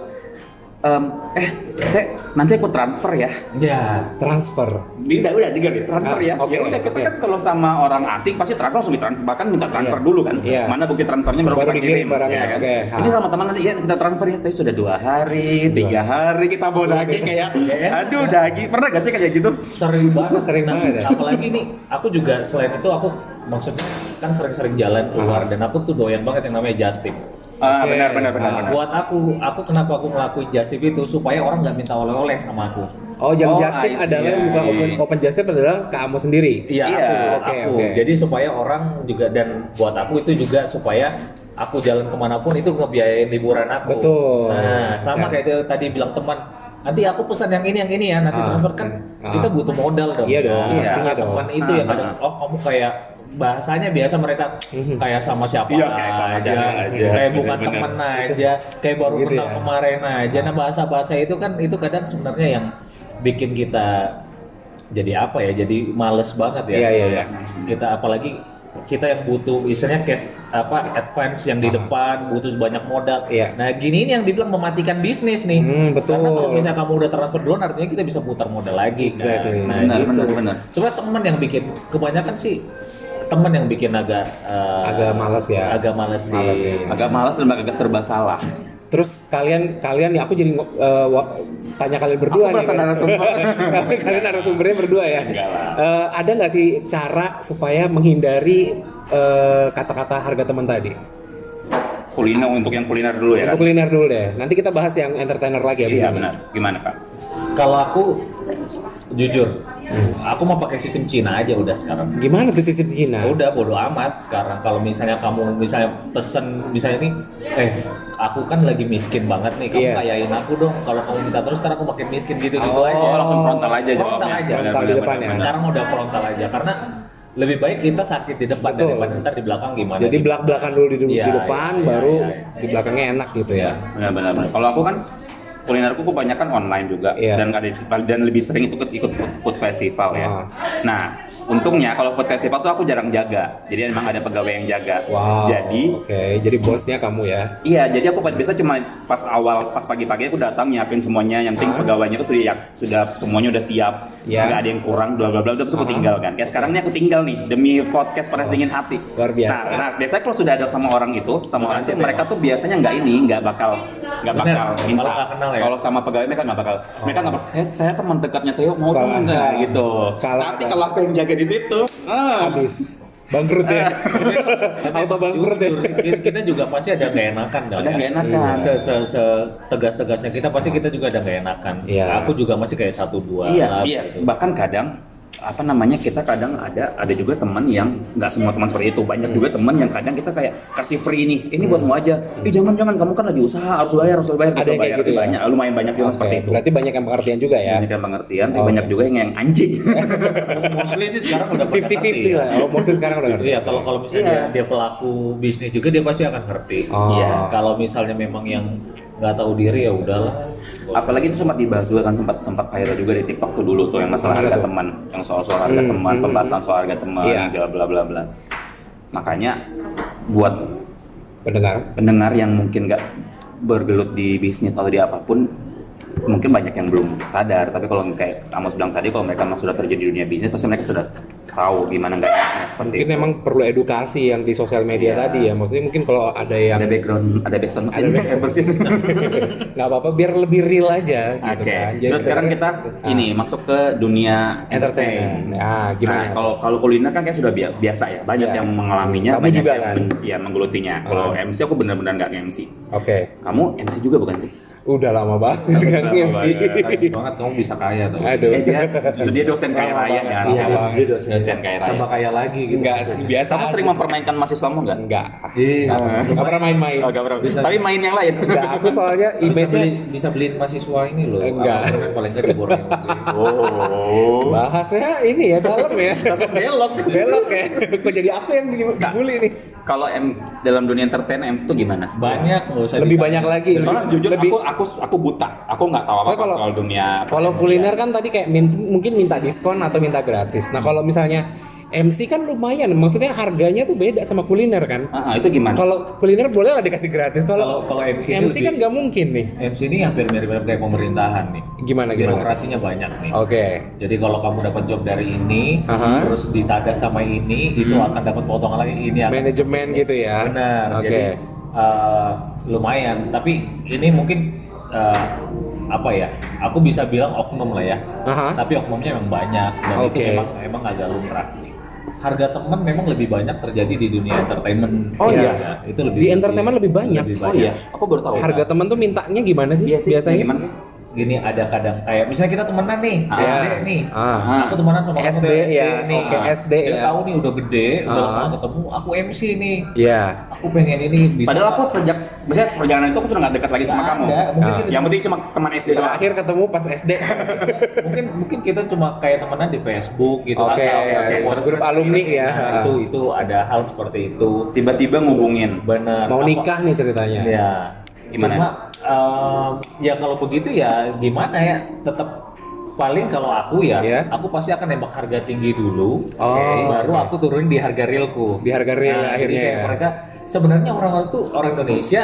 S2: Em, eh, Teh, nanti aku transfer ya.
S3: Ya,
S1: Transfer.
S2: Dia udah udah tiga deh, transfer
S1: Ah,
S2: ya.
S1: oke,
S2: ya udah kita
S1: oke.
S2: kan kalau sama orang asing pasti transfer langsung ditransfer bahkan minta transfer
S1: Iya.
S2: dulu kan.
S1: Iya.
S2: Mana bukti transfernya baru,
S1: Baru
S2: kita
S1: dikirim
S2: kirim
S1: barangnya,
S2: ya kan.
S1: oke.
S2: Ini
S1: Ah.
S2: sama teman nanti ya kita transfer ya. Tapi sudah dua hari, tiga hari kita bawa daging kayak
S1: Iya kan?
S2: aduh daging. Pernah gak sih kayak gitu?
S3: sering banget
S1: Sering
S3: Nah,
S1: banget ya?
S3: apalagi nih aku juga selain itu aku maksudnya kan sering-sering jalan keluar dan aku tuh doyan banget yang namanya just tip.
S2: Ah,
S1: Oke.
S2: benar benar benar
S1: Ah,
S2: benar.
S3: Buat aku, aku kenapa aku ngelakuin just tip itu supaya orang nggak minta oleh-oleh sama aku.
S1: Oh, jam
S2: Oh,
S1: Justin
S2: I see.
S1: adalah bukan open open Justin adalah ke kamu sendiri.
S3: Iya,
S2: Iya,
S3: aku,
S1: oke,
S3: aku.
S1: oke.
S3: Jadi supaya orang juga dan buat aku itu juga supaya aku jalan kemanapun itu ngebiayain liburan aku.
S1: Betul.
S3: Nah,
S1: Jangan.
S3: sama kayak itu tadi bilang teman. Nanti aku pesan yang ini yang ini ya. Nanti
S1: Ah,
S3: transfer kan
S1: ah.
S3: kita butuh modal dong.
S1: Iya dong,
S3: Nah,
S1: pastinya dong.
S3: Teman itu
S2: Ah,
S3: yang ada. Oh kamu kayak bahasanya biasa mereka
S1: Mhm.
S3: kayak sama siapa
S2: Iya, kayak sama
S3: aja, gitu."
S2: siapa aja.
S3: kayak bukan
S2: Bener-bener.
S3: teman aja, kayak baru
S1: Gitu
S3: kenal
S1: ya.
S3: kemarin aja. Nah bahasa bahasa itu kan itu kadang sebenarnya yang bikin kita jadi apa ya jadi males banget ya
S1: Iya, iya, iya.
S3: kita apalagi kita yang butuh istilahnya cash apa advance yang di depan butuh banyak modal
S1: Iya.
S3: nah gini ini yang dibilang mematikan bisnis nih
S1: Hmm, betul.
S3: karena kalau misalnya kamu udah transfer duluan artinya kita bisa putar modal lagi kan?
S1: Exactly.
S3: nah,
S2: Benar,
S3: gitu.
S2: benar, benar.
S3: Sebenarnya teman yang bikin kebanyakan sih teman yang bikin agak eh,
S1: Agak males ya.
S3: agak males sih
S1: Males ya.
S2: agak malas dan agak serba salah.
S1: Terus kalian kalian ya aku jadi ngo- eh, wa- tanya kalian berdua
S2: Aku merasa
S1: kan.
S2: narasumber.
S1: Kalian- kalian narasumbernya berdua ya.
S3: Enggak lah.
S1: Eh, ada nggak sih cara supaya menghindari eh, kata-kata harga teman tadi?
S2: Kuliner untuk yang kuliner dulu ya.
S1: Untuk
S2: kan?
S1: kuliner dulu deh. Nanti kita bahas yang entertainer lagi ya, abis
S2: Iya
S1: ini.
S2: benar. Gimana kak?
S3: kalau aku jujur aku mau pakai sistem Cina aja udah sekarang
S1: Gimana tuh sisi Cina?
S3: udah bodo amat sekarang kalau misalnya kamu misalnya pesen misalnya nih eh aku kan lagi miskin banget nih kamu
S1: Iya.
S3: kayain aku dong kalau kamu minta terus ntar aku makin miskin gitu gitu
S1: Oh,
S3: aja
S2: Oh, langsung frontal aja
S3: Frontal
S2: jawabnya.
S3: aja,
S2: Benar,
S1: frontal di
S2: benar,
S1: depan
S2: benar,
S1: ya.
S2: benar.
S3: sekarang udah frontal aja karena lebih baik kita sakit di depan
S1: Betul.
S3: daripada ntar di belakang gimana
S1: Jadi
S3: gitu.
S1: belak-belakan dulu di, di
S3: Iya,
S1: depan,
S3: iya,
S1: baru
S3: iya, iya.
S1: di belakangnya enak gitu ya.
S2: Benar benar. benar. Kalau aku kan kulinerku kebanyakan online juga
S1: Iya.
S2: dan nggak ada- dan lebih sering itu ikut food, food festival ya.
S1: Ah.
S2: Nah, untungnya kalau food festival tuh aku jarang jaga. Jadi emang ada pegawai yang jaga.
S1: Ah. Wow.
S2: Jadi
S1: oke, jadi bosnya kamu ya.
S2: Iya, jadi aku pada- biasa cuma pas awal, pas pagi-pagi aku datang nyiapin semuanya. Yang penting pegawainya tuh sudah ya- sudah semuanya udah siap,
S1: Iya.
S2: nggak ada yang kurang, bla bla bla. Terus aku tinggal kan. Kayak sekarang ini aku tinggal nih demi podcast panas dingin hati.
S1: Luar biasa.
S2: Nah, nah, biasanya kalau sudah ada sama orang itu, sama orang itu
S3: Makasih,
S2: mereka tuh biasanya nggak ini, nggak bakal nggak
S3: Bener,
S2: bakal minta.
S3: kalau nggak kenal ya.
S2: Kalau sama pegawai mereka nggak bakal. Mereka nggak bakal. Saya, saya teman dekatnya Teo mau
S1: Kalau-
S2: dong nggak gitu.
S1: kalau-
S2: Tapi kalau aku yang jaga di situ, ah,
S1: Habis bangkrut ya. Auto bangkrut ya.
S3: Jujur, kita- kita juga pasti ada nggak enakan dong
S2: Ada
S3: ya.
S2: nggak enakan.
S3: se, se, se tegas tegasnya kita pasti kita juga ada nggak enakan
S1: Iya.
S3: aku juga masih kayak satu dua
S2: Iya,
S3: lah,
S2: iya.
S3: gitu.
S2: Bahkan kadang apa namanya kita kadang ada ada juga teman yang nggak semua teman seperti itu
S1: Hmm.
S2: banyak juga teman yang kadang kita kayak kasih free nih ini buatmu aja ih jangan jangan kamu kan lagi usaha harus bayar harus bayar
S1: Hmm. Ada
S2: Kita
S1: yang kayak
S2: bayar
S1: gitu ya?
S2: banyak lumayan banyak juga
S1: Oke,
S2: seperti itu
S1: Berarti banyak yang pengertian juga ya.
S2: banyak yang pengertian tapi
S1: Oh.
S2: banyak juga yang, yang anjing
S3: mostly sih sekarang udah pada
S1: 50-50
S3: ngerti.
S1: lah. Oh, mostly sekarang udah ngerti.
S3: Iya, kalau kalau misalnya
S2: Iya.
S3: dia, dia pelaku bisnis juga dia pasti akan ngerti.
S1: Oh.
S3: Iya, kalau misalnya memang yang nggak tahu diri ya udahlah.
S2: apalagi itu sempat dibahas juga kan sempat sempat viral juga di TikTok tuh dulu tuh yang masalah
S1: Gimana
S2: harga
S1: tuh?
S2: teman yang soal soal harga
S1: Hmm,
S2: teman
S1: hmm,
S2: pembahasan soal harga teman
S1: Iya.
S2: bla bla bla bla makanya buat
S1: Pendengar.
S2: pendengar yang mungkin nggak bergelut di bisnis atau di apapun mungkin banyak yang belum sadar tapi kalau kayak Amos bilang tadi kalau mereka memang sudah terjun di dunia bisnis pasti mereka sudah tahu gimana nggak enaknya seperti
S1: Mungkin
S2: itu.
S1: memang perlu edukasi yang di sosial media
S2: Iya.
S1: tadi ya. Maksudnya mungkin kalau ada yang
S2: ada background ada background mesin yang bersih
S1: nggak apa-apa biar lebih real aja gitu
S2: Iya. Oke,
S1: kan. Jadi
S2: terus sekarang kita
S1: Ah,
S2: ini masuk ke dunia
S1: entertain.
S2: entertain.
S1: Nah, gimana?
S2: Nah, kalau kalau kuliner kan kayak sudah bia- biasa ya, banyak
S1: Iya.
S2: yang mengalaminya,
S1: Kamu
S2: banyak
S1: juga
S2: yang
S1: kan?
S2: men- ya menggelutinya. Kalau
S1: Ah.
S2: MC aku benar-benar nggak MC.
S1: Oke.
S2: Kamu MC juga bukan sih?
S1: Udah lama banget nggak nge-MC.
S3: Eh, banget kamu bisa kaya tuh.
S1: Iya. Aduh.
S2: Eh dia, justru dia dosen kaya
S1: Lama
S2: raya
S1: banget.
S2: kan?
S1: Iya, Bang.
S3: dia dosen.
S2: Dosen kan? kaya raya.
S3: Tambah kaya lagi gitu.
S1: Enggak sih, biasa.
S2: Kamu
S1: aja.
S2: sering mempermainkan mahasiswamu nggak?
S1: Enggak.
S3: Iya.
S1: Enggak pernah main-main.
S2: Oh, nggak pernah. Tapi main yang lain.
S1: Enggak, aku soalnya
S3: Bisa
S1: image-nya
S3: beli bisa beliin mahasiswa ini loh.
S1: Enggak.
S3: Apa, Paling nggak di Borneo.
S2: Oh.
S1: bahasnya ini ya dalam ya. belok, belok ya. Kok jadi aku yang di- dibully nih?
S2: Kalau M dalam dunia entertain M itu gimana?
S3: Banyak nggak usah.
S1: Lebih
S3: ditanya.
S1: banyak lagi.
S2: Soalnya
S1: Lebih-
S2: jujur
S1: lebih-
S2: aku aku aku buta. Aku nggak tahu
S1: Soalnya
S2: apa-apa
S1: kalau-
S2: soal dunia.
S1: Kalau kuliner kan tadi kayak min- mungkin minta diskon atau minta gratis. Nah kalau misalnya MC kan lumayan, maksudnya harganya tuh beda sama kuliner kan.
S2: Ah, ah, itu gimana?
S1: Kalau kuliner boleh lah dikasih gratis. Kalau
S3: Kalau kalau MC,
S1: MC
S3: ini
S1: kan
S3: lebih-
S1: nggak mungkin nih.
S3: MC ini hampir mirip-mirip kayak pemerintahan nih.
S1: Gimana, gimana?
S3: Birokrasinya banyak nih.
S1: Oke.
S3: Jadi kalau kamu dapat job dari ini,
S1: Aha. Hmm.
S3: terus ditanda sama ini, itu akan dapat potongan lagi ini akan
S1: Manajemen gitu ya.
S3: benar.
S1: Oke.
S3: Jadi eh, lumayan, tapi ini mungkin eh, apa ya? Aku bisa bilang oknum lah ya.
S1: Aha.
S3: Tapi oknumnya memang banyak dan itu
S1: Oke.
S3: memang memang agak lumrah. Harga teman memang lebih banyak terjadi di dunia entertainment.
S1: Oh
S3: Ya,
S1: iya.
S3: ya. Itu lebih
S1: Di entertainment lebih banyak.
S2: Oh iya, aku baru tahu.
S1: Harga teman tuh mintanya gimana
S3: Iya
S1: sih?
S2: biasanya,
S1: biasanya
S2: gimana?
S3: Gini ada kadang kayak misalnya kita temenan nih,
S2: Ah.
S3: SD nih.
S1: Ah.
S2: Ah.
S3: Aku temenan sama kamu
S1: SD,
S3: dari
S1: ya.
S3: nih.
S1: Oke,
S3: Ah.
S1: SD,
S3: Dia
S1: ya.
S3: tahu nih udah gede, udah
S1: Ah.
S3: lama ketemu, aku MC nih.
S1: Iya.
S3: Aku pengen ini bisa.
S2: Padahal aku sejak biasanya perjalanan itu aku sudah nggak dekat lagi sama
S3: Nggak
S2: kamu.
S3: ada, mungkin
S2: Ah.
S3: kita-
S2: Yang penting cuma teman SD doang.
S1: Terakhir ketemu pas SD.
S3: mungkin mungkin kita cuma kayak temenan di Facebook gitu
S1: Oke, ya,
S3: kayak
S1: grup
S3: WhatsApp,
S1: alumni
S3: gitu.
S1: ya.
S3: Nah, itu itu ada hal seperti itu.
S2: Tiba-tiba ngubungin.
S3: Benar.
S1: Mau
S3: Apa-
S1: nikah nih ceritanya.
S3: Ya.
S2: Gimana?
S3: ehm, Cuma em, ya kalau begitu ya gimana ya? Tetap paling kalau aku ya,
S1: Iya.
S3: aku pasti akan nembak harga tinggi dulu,
S1: Oh,
S3: baru
S1: oke.
S3: aku turunin di harga realku.
S1: Di harga real
S3: Nah, jadi
S1: akhirnya
S3: kayak
S1: ya.
S3: mereka sebenarnya orang-orang tuh orang Indonesia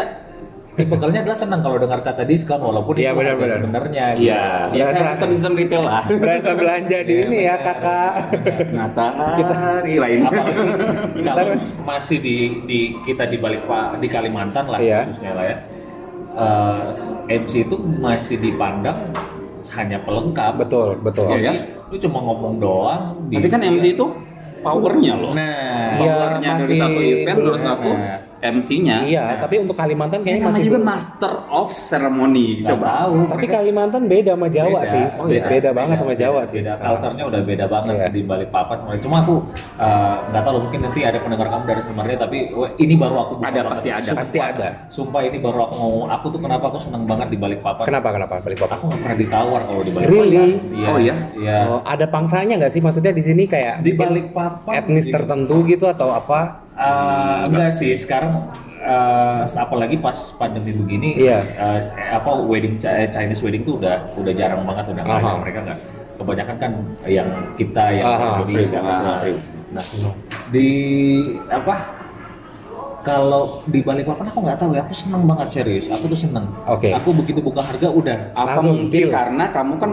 S3: tipikalnya adalah senang kalau dengar kata diskon walaupun
S1: Iya,
S3: itu harga
S1: benar-benar.
S3: sebenarnya. gitu.
S2: Iya,
S1: Iya,
S2: ya
S1: kan,
S2: kan sistem sistem retail lah.
S1: Berasa belanja
S3: Iya,
S1: di ini ya kakak.
S2: Matahari lain.
S3: apalagi kalau masih di, di kita di balik Pak- di Kalimantan lah
S1: Iya.
S3: khususnya lah ya eh, MC itu masih dipandang hanya pelengkap
S1: betul, betul.
S2: Iya,
S3: jadi
S2: ya.
S3: lu cuma ngomong doang di-
S2: Tapi kan MC itu powernya loh.
S1: Iya,
S3: nah
S2: powernya dari
S1: masih
S2: satu event menurut
S1: belum-
S2: aku
S3: Nah.
S2: MC-nya.
S1: Iya, tapi untuk Kalimantan
S2: Ini
S1: kayaknya
S2: namanya
S1: masih
S2: juga Master of Ceremony.
S3: nggak
S2: Coba.
S3: tahu
S1: Tapi Kalimantan beda sama Jawa
S3: Beda.
S1: sih.
S3: Oh, iya.
S1: beda, banget sama Jawa sih.
S3: Beda culture-nya udah beda banget
S1: Iya.
S3: di balik papan. Cuma aku eh, nggak tahu mungkin nanti ada pendengar kamu dari Semarang tapi wah, ini baru aku buka
S2: Ada,
S3: banget.
S2: pasti ada.
S3: Sumpah-
S1: Pasti ada.
S3: Sumpah ini baru aku ngomong. Aku tuh kenapa aku seneng banget di balik papan.
S1: Kenapa kenapa Felipe?
S3: Aku nggak pernah ditawar kalau di balik
S1: Really?
S3: papan. Iya.
S2: Oh, iya?
S3: Iya.
S1: Oh, ada pangsanya nggak sih maksudnya di sini kayak
S3: Di balik papan.
S1: etnis tertentu gitu atau apa?
S3: Eh, enggak sih sekarang eh, apalagi pas pandemi begini
S1: Iya.
S3: eh, apa wedding Chi- eh, Chinese wedding tuh udah udah jarang banget udah nggak
S1: Aha.
S3: ada mereka nggak kebanyakan kan yang kita yang
S1: Aha,
S3: Indonesia
S2: free,
S3: nah,
S2: free.
S3: nah, di apa kalau di balik papan aku nggak tahu ya aku seneng banget serius aku tuh seneng
S1: Oke.
S3: aku begitu buka harga udah
S2: Apa
S1: Langsung
S2: mungkin
S1: deal.
S2: karena kamu kan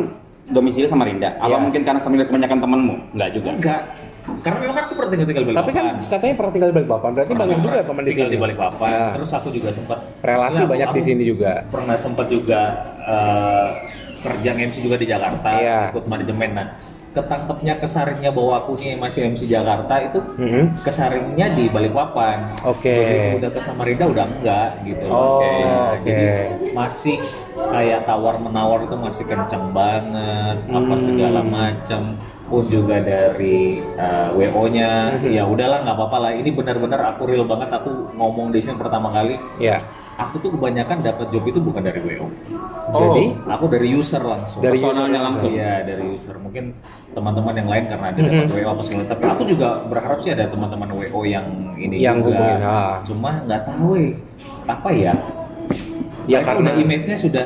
S2: domisili sama Rinda? Apa
S1: Iya. Oh,
S2: mungkin karena sama Rinda kebanyakan temanmu? Enggak juga.
S3: enggak karena memang kan aku pernah tinggal tinggal di balik
S1: Tapi kan
S3: papan.
S1: katanya pernah tinggal di Balikpapan, berarti banyak juga
S3: Pernah
S1: teman di
S3: tinggal
S1: sini.
S3: di balik papan
S1: Nah.
S3: terus aku juga sempat
S1: Relasi
S3: Nah, aku-
S1: banyak di
S3: aku-
S1: sini juga.
S3: pernah sempat juga eh, kerja MC juga di Jakarta
S1: Iya.
S3: ikut manajemen nah ketangkepnya kesaringnya bahwa aku nih masih MC Jakarta itu
S1: Mhm.
S3: kesaringnya di Balikpapan
S1: Oke.
S3: Begitu udah ke Samarinda udah enggak gitu
S1: Oh,
S3: Oke.
S1: oke.
S3: jadi masih kayak tawar menawar itu masih kenceng banget apa
S1: Hmm.
S3: segala macam pun juga dari wo nya
S1: Hmm.
S3: ya udahlah nggak apa-apa lah ini benar-benar aku real banget aku ngomong di sini pertama kali
S1: Ya.
S3: aku tuh kebanyakan dapat job itu bukan dari WO.
S2: Oh.
S1: Jadi
S3: Aku dari user langsung.
S1: Dari
S2: Personalnya
S1: user
S2: langsung.
S3: Iya, dari user. Mungkin teman-teman yang lain karena ada dapat WO apa segala tapi aku juga berharap sih ada teman-teman WO yang ini
S1: Yang
S3: juga.
S1: hubungin, ah.
S3: Cuma nggak tahu eh, apa ya.
S1: Ya,
S3: Ya
S1: karena-
S3: udah image-nya sudah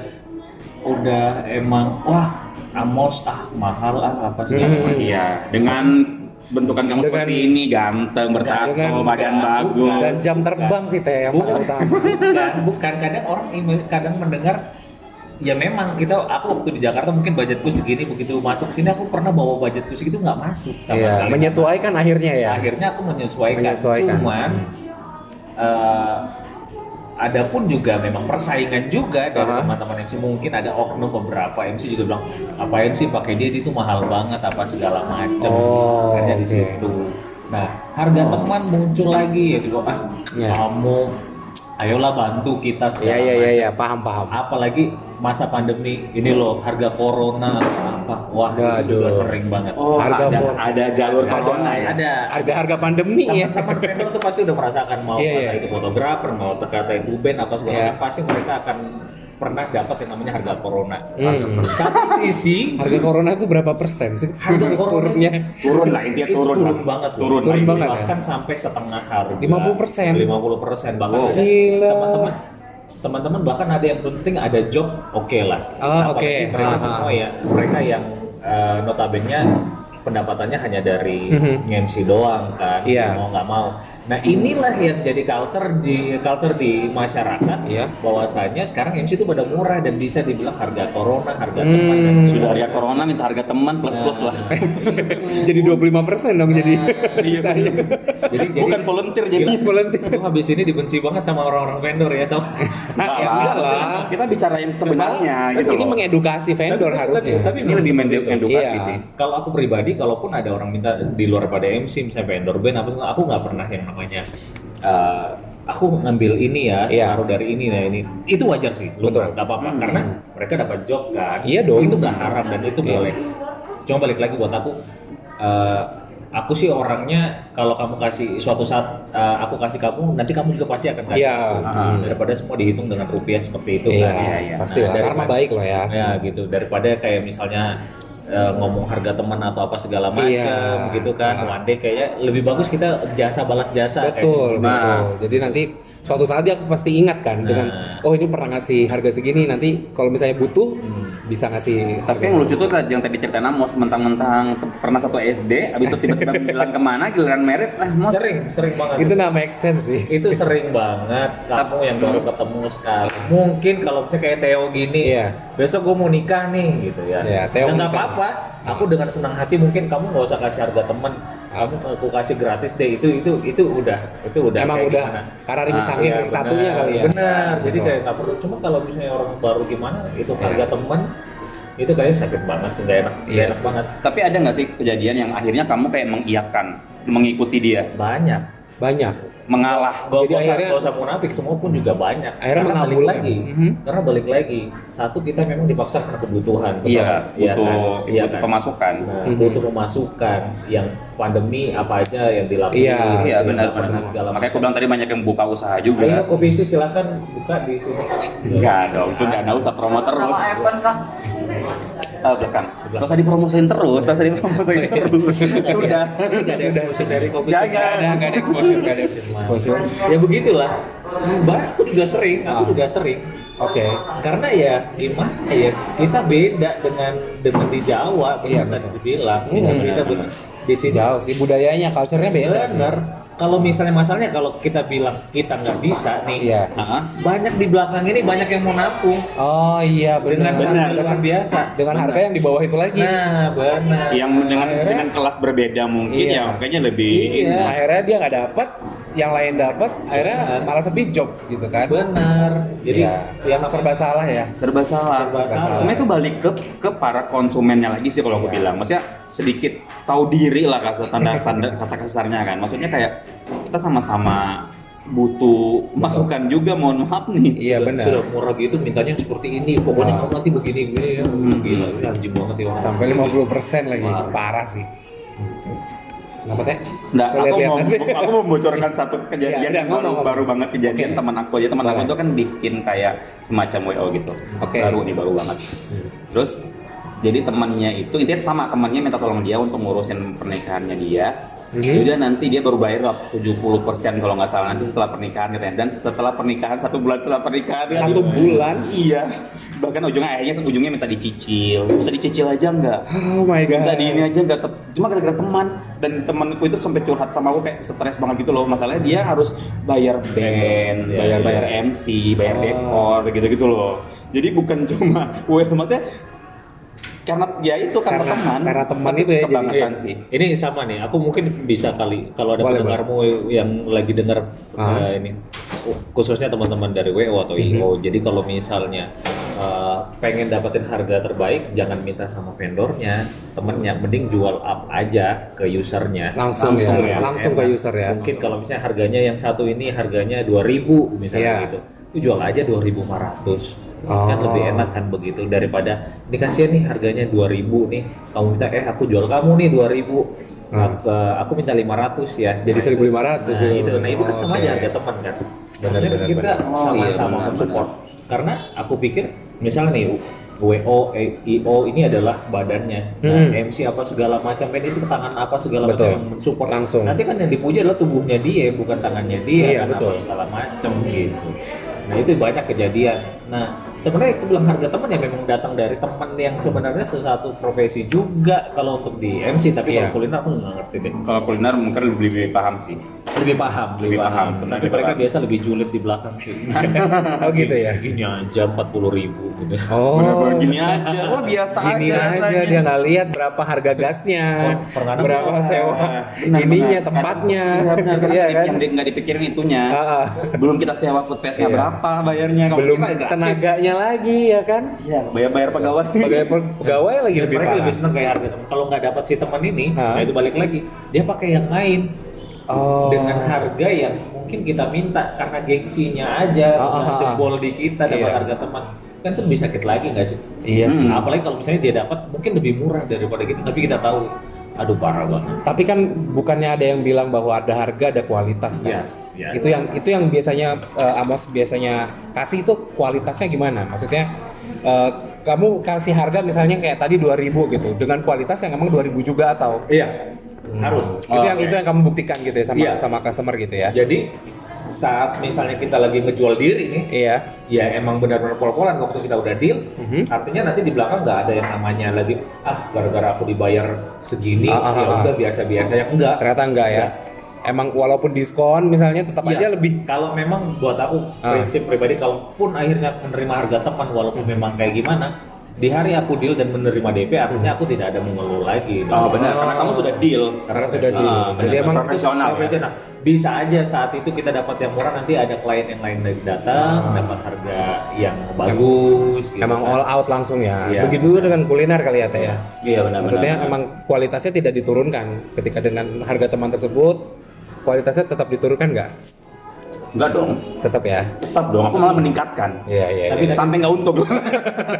S3: udah emang wah Amos ah mahal ah apa segala
S1: Mhm.
S3: macam.
S2: Iya, dengan bentukan kamu
S1: Dengan-
S2: seperti ini, ganteng, bertato,
S1: dengan-
S2: badan
S3: dengan-
S2: bagus.
S1: dan jam terbang sih teh yang paling
S3: Bukan.
S1: utama.
S3: bukan bukan kadang orang email kadang mendengar ya memang kita aku waktu di Jakarta mungkin budgetku segini begitu masuk sini aku pernah bawa budgetku segitu nggak masuk sama
S1: Iya,
S3: sekali
S1: menyesuaikan akhirnya ya.
S3: akhirnya aku menyesuaikan,
S1: Menyesuaikan.
S3: cuman eh, ada pun juga memang persaingan juga dari
S1: Aha.
S3: teman-teman MC mungkin ada oknum beberapa MC juga bilang apain sih pakai dia itu mahal banget apa segala macem
S1: Oh,
S3: akhirnya di
S1: oke. Oh.
S3: situ nah harga teman muncul lagi ya tiba ah
S1: Ya.
S3: kamu ayolah bantu
S1: Iya
S3: kita segala
S1: iya iya
S3: macem."
S1: iya, paham paham.
S3: apalagi masa pandemi ini loh harga corona apa wah itu juga
S1: Waduh.
S3: sering banget
S2: Oh,
S1: Harga
S2: ada,
S1: pol-
S2: ada jalur
S3: Ada-
S2: corona ya.
S3: ada
S1: Harga-harga pandemi ya.
S3: teman-teman vendor tuh pasti udah merasakan mau
S1: Iya,
S3: kata
S1: iya.
S3: itu fotografer, mau kata itu band apa segala
S1: Iya.
S3: macam, pasti mereka akan pernah dapat yang namanya harga corona.
S1: Hmm.
S3: Satu sisi
S1: Harga corona itu berapa persen sih?
S3: harga corona
S1: turunnya
S2: Turun lah, intinya
S3: itu
S2: turun.
S3: turun,
S2: lah.
S3: banget loh.
S2: Turun,
S1: Turun
S2: lah.
S1: banget. ya?
S3: bahkan sampai setengah harga
S1: 50%.
S3: 50% bahkan
S2: Wow.
S3: ada
S1: Gila.
S3: teman-teman teman-teman bahkan ada yang penting ada job oke lah
S1: Ah, oke.
S3: Apalagi mereka
S1: Ah,
S3: semua
S1: ah.
S3: ya mereka yang eh, notabene pendapatannya hanya dari
S1: Mhm.
S3: MC doang kan
S1: Iya.
S3: mau nggak mau nah inilah yang jadi culture di culture di masyarakat
S1: Iya.
S3: bahwasanya sekarang MC itu pada murah dan bisa dibilang harga corona harga
S1: Hmm.
S3: teman dan
S2: Sudah harga corona minta harga teman plus-plus lah.
S1: Nah. jadi 25 persen dong jadi
S3: Ah, iya,
S1: ya. Iya, sisanya.
S3: jadi jadi-
S2: Bukan volunteer jadi.
S1: Jadi volunteer.
S3: Lu habis ini dibenci banget sama orang-orang vendor ya sama.
S2: Enggak
S1: Ya, enggak lah.
S2: Kita bicara yang sebenarnya gitu
S1: Ini
S2: loh.
S1: mengedukasi vendor
S3: Tapi-
S1: harusnya.
S3: tapi- gitu.
S2: Ini lebih mendedukasi
S1: Iya.
S2: sih.
S3: Kalau aku pribadi, kalaupun ada orang minta di luar pada MC, misalnya vendor band apa segala, aku nggak pernah yang namanya. eh, aku ngambil ini ya,
S1: Iya.
S3: separuh dari ini nah ini. Itu wajar sih, lu
S1: Betul.
S3: nggak apa-apa
S2: Hmm.
S3: karena mereka dapat job kan.
S1: Iya dong.
S3: Itu nggak haram dan itu
S1: Iya.
S3: boleh. Cuma balik lagi buat aku, eh, aku sih orangnya kalau kamu kasih suatu saat eh, aku kasih kamu, nanti kamu juga pasti akan kasih.
S1: Iya.
S3: aku. Ah, daripada semua dihitung dengan rupiah seperti itu
S1: iya,
S3: kan.
S1: iya,
S2: iya.
S1: pasti lah.
S3: Nah,
S1: Karma
S3: daripada-
S1: baik loh ya.
S3: ya gitu daripada kayak misalnya eh, ngomong harga teman atau apa segala macam
S1: Iya.
S3: gitu kan
S1: Iya.
S3: one day kayaknya lebih bagus kita jasa balas jasa kayak
S1: Betul,
S3: gitu.
S1: betul. Jadi nanti suatu saat dia pasti ingat kan dengan
S3: Nah.
S1: oh ini pernah ngasih harga segini nanti kalau misalnya butuh
S3: Hmm.
S1: bisa ngasih harga
S2: Tapi yang lucu tuh yang tadi cerita Namos mentang-mentang te- pernah satu SD, habis itu tiba-tiba bilang kemana, giliran merit, lah mos.
S3: Nah, sering sering banget
S1: itu nggak make sense sih
S3: itu sering banget kamu yang baru ketemu sekali mungkin kalau misalnya kayak Theo gini
S1: Iya.
S3: besok gue mau nikah nih gitu ya
S1: Iya, Theo
S3: Dan nggak
S1: nikah.
S3: apa-apa aku dengan senang hati mungkin kamu nggak usah kasih harga temen kamu aku kasih gratis deh itu itu itu udah itu udah
S1: emang
S3: kayak
S1: udah
S3: gimana.
S1: karena ringsangin
S3: Iya,
S1: ring satunya
S3: benar,
S1: kali ya
S3: benar jadi
S1: Betul.
S3: kayak nggak perlu cuma kalau misalnya orang baru gimana itu harga temen itu kayak sakit banget sih nggak enak nggak
S1: Iya
S3: enak
S1: sih.
S3: banget
S2: Tapi ada nggak sih kejadian yang akhirnya kamu kayak mengiyakan, mengikuti dia,
S3: banyak
S1: banyak
S2: mengalah?
S3: Gak
S1: Jadi
S3: usah,
S1: akhirnya-
S3: nggak usah munafik, semua pun juga banyak.
S1: Akhirnya
S3: karena balik
S1: mengabulkan.
S3: lagi,
S1: Mhm.
S3: karena balik lagi. Satu kita memang dipaksa karena kebutuhan. betul kan?
S2: Iya,
S3: Iya kan?
S2: butuh,
S3: Iya
S2: butuh
S3: kan?
S2: pemasukan.
S3: Nah,
S1: Mhm.
S3: butuh pemasukan yang pandemi apa aja yang dilakukan.
S1: Iya.
S2: Iya benar.
S3: Segala, segala
S2: Makanya aku bilang tadi banyak yang buka usaha
S3: Ayo
S2: juga.
S3: kopi isi silakan buka di sini.
S2: Enggak dong, itu enggak ada usah promo terus.
S4: Sama Evan kah?
S2: Ah, belakang. Terus usah dipromosin terus, terus usah dipromosin terus. Sudah.
S3: Gak ada exposure dari kopi.
S1: Nggak ada
S2: Jangan.
S1: nggak ada exposure nggak ada exposure
S3: Ya begitulah. Bah, aku juga sering, aku
S1: Ah.
S3: juga sering.
S1: oke
S3: Karena ya gimana ya kita beda dengan dengan di Jawa,
S1: Iya,
S3: benar tadi
S1: betul.
S3: dibilang.
S1: Iya,
S3: kita
S2: benar.
S3: ber- di sini
S1: jauh sih budayanya culture-nya beda sih
S3: Benar. Kalau misalnya masalahnya kalau kita bilang kita nggak bisa nih,
S1: Iya.
S2: Heeh.
S3: banyak di belakang ini banyak yang mau nabung
S1: oh iya
S3: dengan
S1: benar
S3: harga luar biasa.
S1: dengan harga yang di bawah itu lagi
S3: Nah, benar.
S2: Yang dengan
S1: Akhirnya-
S2: dengan kelas berbeda mungkin
S1: Iya.
S2: ya, makanya lebih
S3: Iya.
S1: Nah, akhirnya dia nggak dapat yang lain dapat akhirnya malah sepi job gitu kan
S3: Benar. Jadi
S1: Iya.
S3: yang
S1: serba salah ya
S2: serba salah.
S3: Serba salah.
S2: Sebenarnya itu balik ke ke para konsumennya lagi sih kalau aku
S1: Iya.
S2: bilang. Maksudnya sedikit tahu diri lah kata tanda tanda kata kasarnya kan. Maksudnya kayak kita sama-sama butuh masukan juga mohon maaf nih.
S1: iya
S3: sudah-
S1: benar
S3: Sudah murah gitu mintanya yang seperti ini. Pokoknya
S1: Wah.
S3: kamu nanti begini begini ya. Gila, anjing banget ya orang.
S1: Hmm. sampai 50 lagi
S3: Wah.
S1: parah sih kenapa teh
S2: Nggak,
S1: Boleh
S2: aku
S1: lihat
S2: mau
S1: nanti.
S2: aku mau bocorkan satu kejadian
S1: Iya, udah,
S2: yang baru,
S1: ngomong,
S2: baru
S1: ngomong.
S2: banget kejadian
S1: Oke.
S2: teman aku aja teman aku
S1: Boleh.
S2: itu kan bikin kayak semacam WO gitu.
S1: Oke. Hmm.
S2: Baru nih baru banget. Terus jadi temannya itu intinya sama temannya minta tolong dia untuk ngurusin pernikahannya dia.
S1: Mhm.
S2: Jadi nanti dia baru bayar 70% kalau nggak salah nanti setelah pernikahan katanya. Dan setelah pernikahan satu bulan setelah pernikahan dia
S1: Satu
S2: dibayar.
S1: bulan?
S2: Iya. Bahkan ujungnya akhirnya ujungnya minta dicicil. Bisa dicicil aja nggak?
S1: oh my god
S2: Enggak di ini aja enggak tep- cuma gara-gara teman dan temanku itu sampai curhat sama aku kayak stres banget gitu loh masalahnya dia harus bayar band,
S3: Iya,
S2: bayar
S3: iya.
S2: bayar MC, bayar
S1: Oh.
S2: dekor gitu-gitu loh. Jadi bukan cuma gue maksudnya karena ya itu karena,
S1: Karena-
S2: teman.
S1: karena teman itu ya, jadi-
S2: kebangetan sih.
S3: Ini sama nih, aku mungkin bisa kali kalau ada
S1: Boleh,
S3: pendengarmu yang lagi dengar
S1: Ah. Mm-hmm.
S3: eh, ini khususnya teman-teman dari WO atau IO. Jadi kalau misalnya eh, pengen dapetin harga terbaik, jangan minta sama vendornya, temennya mending jual up aja ke usernya.
S1: langsung,
S2: Langsung
S1: ya,
S2: ya.
S1: langsung ke
S3: Enak.
S1: user ya
S3: Mungkin kalau misalnya harganya yang satu ini harganya 2000 misalnya
S1: Iya.
S3: gitu. Itu jual aja 2500. Kan
S1: Oh.
S3: lebih enak kan begitu daripada ini kasihan nih harganya 2000 nih. Kamu minta eh aku jual kamu nih 2000.
S1: Hmm.
S3: Aku, eh, aku minta 500 ya.
S1: Jadi 1.500
S3: Nah, itu. Nah, itu kan
S1: Oh,
S3: sama
S1: oke.
S3: aja harga teman kan.
S1: Benar,
S3: Maksudnya
S1: benar,
S3: kita
S2: benar. Oh, iya,
S3: sama-sama
S2: benar,
S3: support. Karena aku pikir misalnya nih WO, E- IO ini adalah badannya, Nah,
S1: Hmm.
S3: MC apa segala macam, ini itu tangan apa segala
S1: Betul.
S3: macam yang mensupport
S1: Langsung.
S3: Nanti kan yang dipuja adalah tubuhnya dia, bukan tangannya
S1: Iya,
S3: dia, kan
S1: betul.
S3: apa segala macam gitu. Nah itu banyak kejadian. Nah sebenarnya itu bilang harga teman ya memang datang dari teman yang sebenarnya sesuatu profesi juga kalau untuk di MC, tapi
S1: Iya.
S3: kalau kuliner aku nggak ngerti deh
S2: Kalau kuliner mungkin lebih, lebih paham sih.
S3: lebih paham
S2: Lebih paham,
S3: tapi
S2: lebih
S3: mereka
S2: paham.
S3: biasa lebih julid di belakang sih
S1: oh gitu ya
S3: gini aja 40.000 ribu gitu
S1: oh
S2: Bener-bener gini aja. Wah, biasa
S1: gini aja,
S2: rasanya.
S1: dia nggak lihat berapa harga gasnya
S3: Oh, pengadaan.
S1: berapa sewa
S2: Benar,
S1: ininya
S2: benar.
S1: tempatnya
S2: Iya, benar, benar.
S1: Iya,
S2: Yang di- nggak dipikirin itunya.
S1: Ah, ah.
S2: Belum kita sewa food festnya
S1: Iya.
S2: berapa bayarnya. Kalau
S1: belum
S2: kita gratis.
S1: tenaganya lagi ya kan
S2: Iya, bayar-bayar pegawai.
S1: pegawai
S2: Iya.
S1: Oh, pegawai lagi
S3: Dan
S1: lebih
S3: mereka
S1: parah
S3: lebih seneng kayak harga teman. kalau nggak dapat si teman ini
S1: Ah.
S3: nah itu balik lagi dia pakai yang lain
S1: oh
S3: dengan harga yang mungkin kita minta karena gengsinya aja
S1: Ah, ah,
S3: nah,
S1: ah.
S3: jebol di kita dapat
S1: Iya.
S3: harga teman kan itu lebih sakit lagi nggak sih
S1: iya sih
S3: Nah, apalagi kalau misalnya dia dapat mungkin lebih murah daripada kita tapi kita tahu aduh parah banget
S1: tapi kan bukannya ada yang bilang bahwa ada harga ada kualitas kan
S3: Iya, iya.
S1: itu yang itu yang biasanya eh, Amos biasanya kasih itu kualitasnya gimana maksudnya eh, kamu kasih harga misalnya kayak tadi 2000 gitu dengan kualitas yang emang 2000 juga atau
S3: iya harus
S1: Hmm. Oh. itu yang itu yang kamu buktikan gitu ya sama
S3: Iya.
S1: sama customer gitu ya
S3: Jadi saat misalnya kita lagi ngejual diri nih
S1: Iya.
S3: ya emang benar-benar pol-polan waktu kita udah deal
S1: Mhm.
S3: artinya nanti di belakang nggak ada yang namanya lagi ah gara-gara aku dibayar segini
S1: Ah, ah,
S3: ya
S1: ah, ah.
S3: udah biasa-biasa ya enggak
S1: Ternyata enggak ya.
S3: Enggak.
S1: Emang walaupun diskon misalnya tetap
S3: Iya.
S1: aja lebih.
S3: kalau memang buat aku
S1: Ah. Hmm.
S3: prinsip pribadi kalaupun akhirnya menerima harga teman walaupun memang kayak gimana di hari aku deal dan menerima DP artinya aku tidak ada mengeluh lagi
S2: Oh, benar, karena kamu sudah deal.
S1: Karena sudah
S3: Ah,
S1: deal.
S3: benar.
S1: Jadi emang
S2: Profesional, ya?
S3: profesional. Bisa aja saat itu kita dapat yang murah nanti ada klien yang lain lagi datang dapat harga yang bagus gitu
S1: Ah. emang
S3: kan.
S1: all out langsung ya.
S3: Iya.
S1: Begitu juga dengan kuliner kali ya Teh ya.
S3: Iya benar
S1: Maksudnya emang kualitasnya tidak diturunkan ketika dengan harga teman tersebut kualitasnya tetap diturunkan nggak?
S2: Enggak dong.
S1: Tetap ya.
S2: Tetap dong, aku malah meningkatkan. Iya.
S1: Iya iya.
S3: Tapi
S1: iya.
S2: Sampai nggak untung.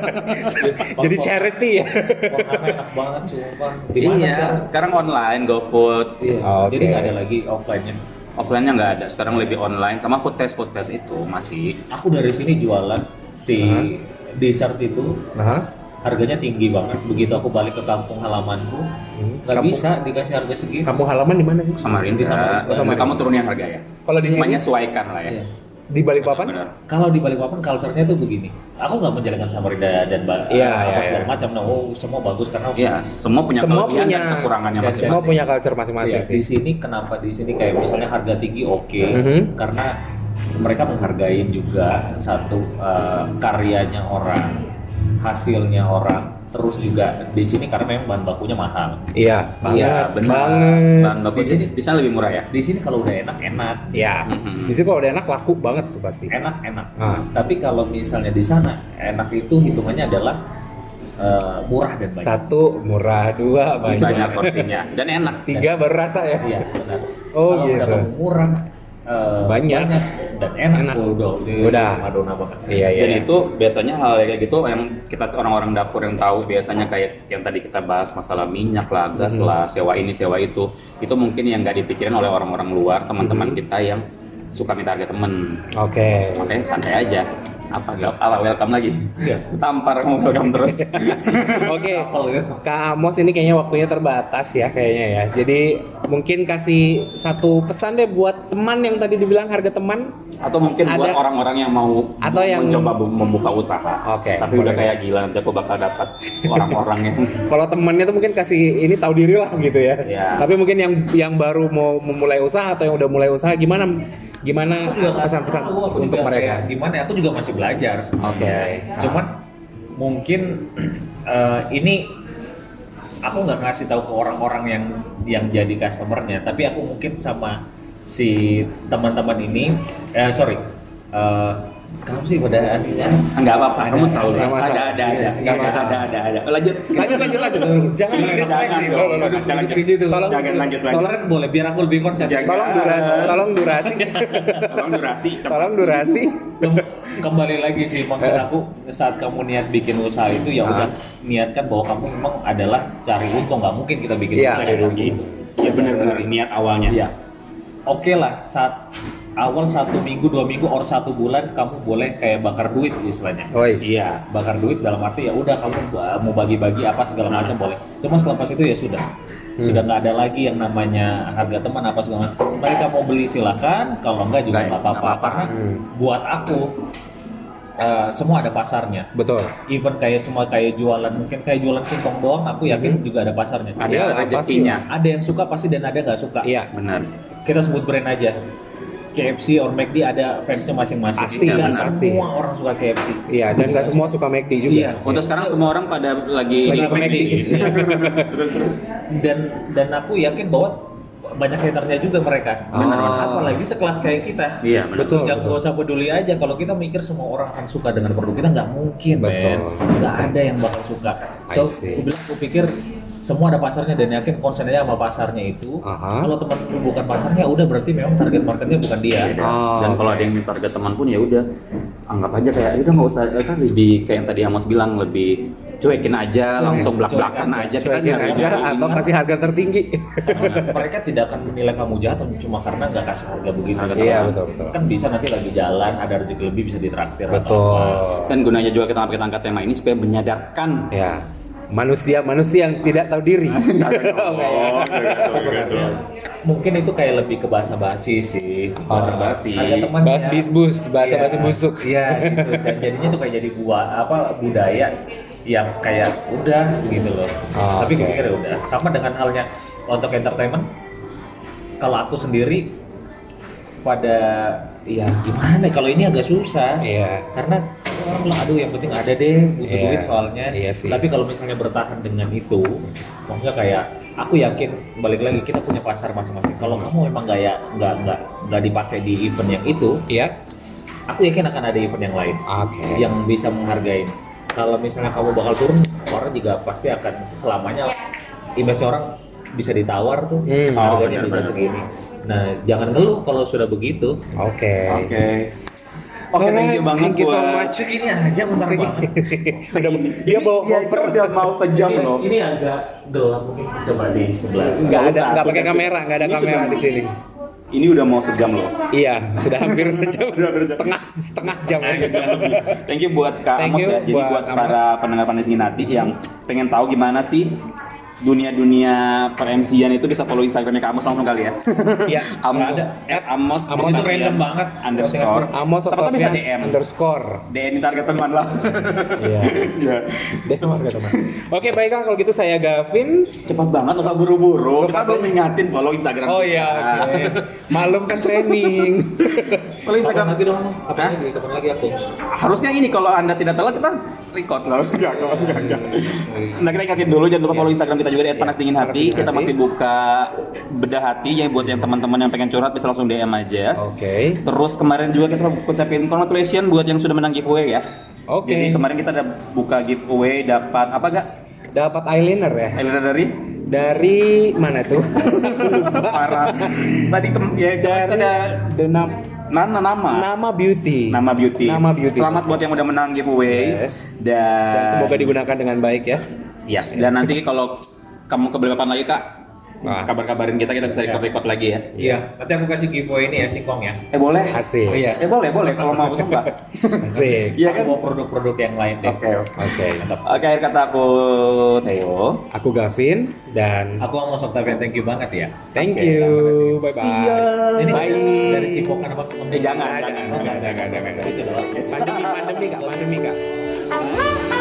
S1: Jadi charity ya.
S3: Warnanya enak banget sumpah. Di mana sekarang?
S2: iya, sekarang online, GoFood.
S3: Iya.
S1: Ah, Oke.
S3: Jadi nggak ada lagi offline-nya.
S2: Offline-nya nggak ada, sekarang lebih online. Sama food test, food test itu masih.
S3: Aku dari sini jualan si
S1: Hah?
S3: dessert itu
S1: Nah,
S3: harganya tinggi banget. Begitu aku balik ke kampung halamanku, nggak
S1: Hmm. Kampung-
S3: bisa dikasih harga segini.
S1: kamu halaman di mana sih?
S2: Sama Rindy, sama,
S1: Oh, sama
S2: kamu turunin harga ya?
S1: Kalau di sini?
S2: menyesuaikan lah ya.
S3: Iya.
S1: Di Balikpapan?
S2: Benar.
S3: Kalau di Balikpapan culture-nya tuh begini. Aku nggak menjalankan Samarinda dan ba-
S1: Iya, iya,
S3: apa segala
S1: iya.
S3: macam. Nah, oh, semua bagus karena
S2: Iya, semua punya
S1: Semua
S2: kelebihan
S1: punya
S2: dan kekurangannya
S1: dan
S2: masing-masing.
S1: Semua punya culture masing-masing
S3: Iya,
S1: sih.
S3: di sini kenapa di sini kayak misalnya harga tinggi oke
S1: Mhm.
S3: karena mereka menghargai juga satu eh, karyanya orang, hasilnya orang, terus juga di sini karena memang bahan bakunya mahal.
S1: Iya, banget,
S2: Iya, benar.
S1: banget.
S2: Bahan baku
S3: Di sini-
S2: di sana lebih murah ya.
S3: Di sini kalau udah enak enak,
S1: Iya.
S2: Mhm.
S1: Di situ kalau udah enak laku banget tuh pasti.
S2: Iya,
S3: enak enak.
S1: Ah.
S3: Tapi kalau misalnya di sana enak itu hitungannya adalah eh, murah dan banyak.
S1: Satu murah, dua banyak,
S2: Banyak porsinya dan enak.
S1: tiga baru rasa ya.
S3: Iya benar.
S1: Oh,
S3: kalau
S1: gitu.
S3: udah kamu murah, eh,
S1: Banyak.
S3: dan enak,
S1: Enak.
S3: udah
S1: Udah.
S3: Madonna banget.
S1: Iya, iya.
S2: Dan itu biasanya hal kayak gitu yang kita orang-orang dapur yang tahu biasanya kayak yang tadi kita bahas masalah minyak lah, gas lah, sewa ini, sewa itu. Itu mungkin yang nggak dipikirin oleh orang-orang luar, teman-teman kita yang suka minta harga temen.
S1: Oke.
S2: Makanya santai aja. Apa ala welcome lagi?
S3: Iya.
S2: Tampar kamu welcome terus.
S1: Oke.
S3: Apel gitu.
S1: Kak Amos ini kayaknya waktunya terbatas ya kayaknya ya. Jadi mungkin kasih satu pesan deh buat teman yang tadi dibilang harga teman.
S2: Atau mungkin buat
S1: Ada-
S2: orang-orang yang mau
S1: Atau yang-
S2: mencoba bu- membuka usaha.
S1: Oke,
S2: Tapi udah
S1: boleh.
S2: kayak gila nanti aku bakal dapat orang-orang yang
S1: Kalau temannya tuh mungkin kasih ini tahu diri lah gitu ya.
S2: Iya.
S1: Tapi mungkin yang yang baru mau memulai usaha atau yang udah mulai usaha gimana gimana
S3: Aku juga nggak
S1: pesan-pesan
S3: tahu, Iya, kan? aku
S1: untuk
S3: juga
S1: mereka?
S3: kayak gimana ya? aku juga masih belajar sebenarnya.
S1: Oke. ah.
S3: cuman mungkin eh, ini aku nggak ngasih tahu ke orang-orang yang yang jadi customernya tapi aku mungkin sama si teman-teman ini eh sorry eh, kamu sih pada akhirnya
S2: Enggak apa-apa,
S3: Ada,
S2: kamu tahu
S1: nggak
S2: lah.
S1: masalah.
S2: Ada ada ada.
S3: Iya,
S2: Enggak
S3: iya.
S2: masalah, ada ada ada. Lanjut.
S1: Lanjut lanjut lanjut.
S3: gitu.
S1: Jangan
S2: Jangan,
S1: direkomensi.
S2: jangan.
S1: Tolong, tolong.
S2: Lanjut, lanjut.
S3: di situ
S1: Tolong.
S2: Jangan lanjut lagi.
S3: Toleran boleh biar aku lebih konsen
S2: Jangan.
S1: Tolong durasi, tolong durasi,
S2: Tolong durasi. cepat.
S1: tolong durasi.
S3: Kem- kembali lagi sih maksud aku saat kamu niat bikin usaha itu ya udah niatkan bahwa kamu memang adalah cari untung nggak mungkin kita bikin
S1: Iya,
S3: usaha
S1: cari
S3: yang
S2: rugi. Ya benar-benar niat awalnya.
S3: Iya. Oke lah, saat awal satu minggu, dua minggu, or satu bulan kamu boleh kayak bakar duit istilahnya.
S1: Ois.
S2: Iya.
S3: Bakar duit dalam arti ya udah kamu ba- mau bagi-bagi apa segala macam boleh. Cuma selepas itu ya sudah, sudah nggak ada lagi yang namanya harga teman apa segala macam. Mereka mau beli silakan, kalau enggak juga
S2: Nggak,
S3: nggak apa-apa.
S2: nggak apa-apa.
S3: Karena
S1: Hmm.
S3: buat aku eh, semua ada pasarnya.
S1: Betul.
S3: Even kayak cuma kayak jualan mungkin kayak jualan singkong doang, aku yakin juga ada pasarnya.
S2: Ada
S1: Iya,
S2: rezekinya.
S3: Ada yang suka pasti dan ada nggak suka
S1: Iya.
S2: Benar.
S3: kita sebut brand aja KFC or McD ada fansnya masing-masing
S1: Pasti,
S3: Nggak
S1: pasti.
S3: semua orang suka KFC
S1: Iya, dan nggak semua suka McD juga.
S3: Iya.
S2: Untuk sekarang semua orang pada lagi
S1: Lagi komedi.
S2: Terus terus.
S3: Iya. dan dan aku yakin bahwa banyak haternya juga mereka
S1: Benar, benar.
S3: apalagi sekelas kayak kita
S2: Iya, benar.
S1: Ah. Betul,
S3: Jangan
S1: betul.
S3: gak usah peduli aja kalau kita mikir semua orang akan suka dengan produk kita nggak mungkin
S1: Betul.
S3: men. nggak ada yang bakal suka so
S1: I see.
S3: aku bilang aku pikir semua ada pasarnya dan yakin konsen aja sama pasarnya itu
S1: Aha.
S3: kalau teman lu bukan pasarnya udah berarti memang target marketnya bukan dia
S1: Oh,
S2: Iya, Dan kalau ada yang minta harga teman pun ya udah anggap aja kayak "Ya udah nggak usah ya kan lebih kayak yang tadi Amos bilang lebih cuekin aja langsung belak belakan
S3: cuekin
S2: aja
S1: Cuekin
S2: nyari
S1: aja
S2: nyari
S1: atau kasih harga tertinggi.
S3: Karena mereka tidak akan menilai kamu jahat cuma karena nggak kasih harga begitu
S2: Harga
S1: Iya, betul, betul.
S3: kan bisa nanti lagi jalan ada rezeki lebih bisa ditraktir atau
S1: Betul.
S3: apa.
S2: Kan Dan gunanya juga kita kita angkat tema ini supaya menyadarkan
S1: Ya. manusia-manusia yang tidak tahu diri.
S2: Oh,
S1: Sebenarnya.
S3: mungkin itu kayak lebih ke bahasa basi sih
S2: Bahasa basi.
S3: Ada
S1: Ah.
S3: temannya.
S1: Bahas bisbus, bahasa
S3: Iya.
S1: bahasa busuk.
S3: iya gitu dan jadinya tuh kayak jadi buah apa budaya yang kayak udah gitu loh
S1: Oh,
S3: tapi
S1: oke.
S3: gue pikir ya udah sama dengan halnya untuk entertainment kalau aku sendiri pada ya gimana kalau ini agak susah
S1: Iya.
S3: karena orang bilang aduh yang penting ada deh butuh
S1: Iya.
S3: duit soalnya
S1: Iya sih.
S3: tapi kalau misalnya bertahan dengan itu maksudnya kayak aku yakin balik lagi kita punya pasar masing-masing kalau kamu memang nggak ya nggak nggak nggak dipakai di event yang itu
S1: Iya.
S3: aku yakin akan ada event yang lain
S1: Oke.
S3: yang bisa menghargai kalau misalnya kamu bakal turun orang juga pasti akan selamanya image orang bisa ditawar tuh
S1: Hmm.
S3: harganya
S2: Oh,
S3: bisa
S2: benar-benar.
S3: segini nah jangan ngeluh kalau sudah begitu
S1: Oke.
S2: Oke. Oke, thank
S1: Alright,
S2: you banget
S1: thank you so
S2: buat-
S1: much.
S3: segini aja bentar banget
S1: Udah- dia bawa
S2: Iya,
S1: koper.
S2: dia Iya, udah mau sejam
S3: ini,
S2: loh.
S3: ini agak gelap mungkin coba di sebelah sana.
S1: Nggak ada,
S2: usah,
S1: nggak pakai
S2: sudah-
S1: kamera, nggak ada
S2: ini
S1: kamera
S2: sudah-
S1: di sini.
S2: Ini udah mau sejam loh.
S1: Iya, sudah hampir sejam,
S2: Udah hampir sejam.
S1: setengah setengah jam.
S2: Thank you buat Kak
S1: Thank you
S2: Amos ya. Jadi
S1: buat
S2: buat, para pendengar Panas nanti yang pengen tahu gimana sih dunia-dunia per MC-an itu bisa follow Instagramnya Kak Amos langsung kali ya.
S1: Iya,
S2: Amos,
S3: Nggak ada.
S2: at
S1: Amos
S2: Amos, underscore
S3: itu random banget.
S2: Underscore.
S1: Amos
S2: Siapa tahu bisa
S1: Octavian
S2: DM.
S1: underscore.
S2: DM ntar ketemuan lah.
S1: Iya.
S2: Iya.
S1: Dia teman teman. Oke, baiklah kalau gitu saya Gavin.
S2: Cepat banget, nggak usah buru-buru. Kita belum ingatin follow Instagram.
S1: Oh
S2: kita.
S1: iya, oke. Malum kan training.
S2: Follow
S3: Kapan
S2: Instagram.
S3: lagi dong? Apa
S2: Hah?
S3: lagi? Kapan lagi aku?
S2: Harusnya ini kalau anda tidak telat kita record loh. Enggak, enggak, enggak, enggak. Nah kita ingatin dulu jangan lupa follow Instagram kita juga di @panasdinginhati.
S1: Panas Dingin
S2: Kita
S1: Hati.
S2: masih buka bedah hati ya buat yang teman-teman yang pengen curhat bisa langsung DM aja.
S1: Oke.
S2: Terus kemarin juga kita ucapin congratulations buat yang sudah menang giveaway ya.
S1: Oke.
S2: Jadi kemarin kita ada buka giveaway dapat apa gak?
S1: Dapat eyeliner ya.
S2: Elena dari
S1: Dari mana tuh?
S2: para tadi kem- ya kemarin
S1: Dari
S2: ada
S1: Denam
S2: nama nama
S1: Nama Beauty.
S2: nama beauty.
S1: Nama Beauty.
S2: Selamat buat yang udah menang giveaway.
S1: Yes.
S2: Dan,
S1: Dan semoga digunakan dengan baik ya.
S2: Yes, dan nanti kalau kamu keberkapan lagi kak,
S1: Wah.
S2: kabar-kabarin kita kita bisa record record lagi ya.
S3: Iya, nanti aku kasih giveaway ini ya singkong ya.
S2: Eh boleh.
S1: Asik.
S3: Oh iya.
S2: Eh boleh boleh kalau mau sumpah.
S1: Asik.
S2: Iya kan?
S3: Aku mau produk-produk yang lain deh.
S2: Oke.
S1: Oke.
S2: Oke akhir kata aku Theo.
S1: Aku Gavin dan
S3: Aku sama Soktavian thank you banget ya.
S1: thank
S2: Oke,
S1: you. Bye bye.
S3: Ini
S1: Bye.
S3: dari Cipokan apa?
S2: Eh, jangan,
S3: Ada,
S2: jangan,
S3: ada,
S2: jangan,
S3: ada, ada, ada. Itu doang.
S1: Pandemi, pandemi kak, pandemi kak.
S4: Thank you.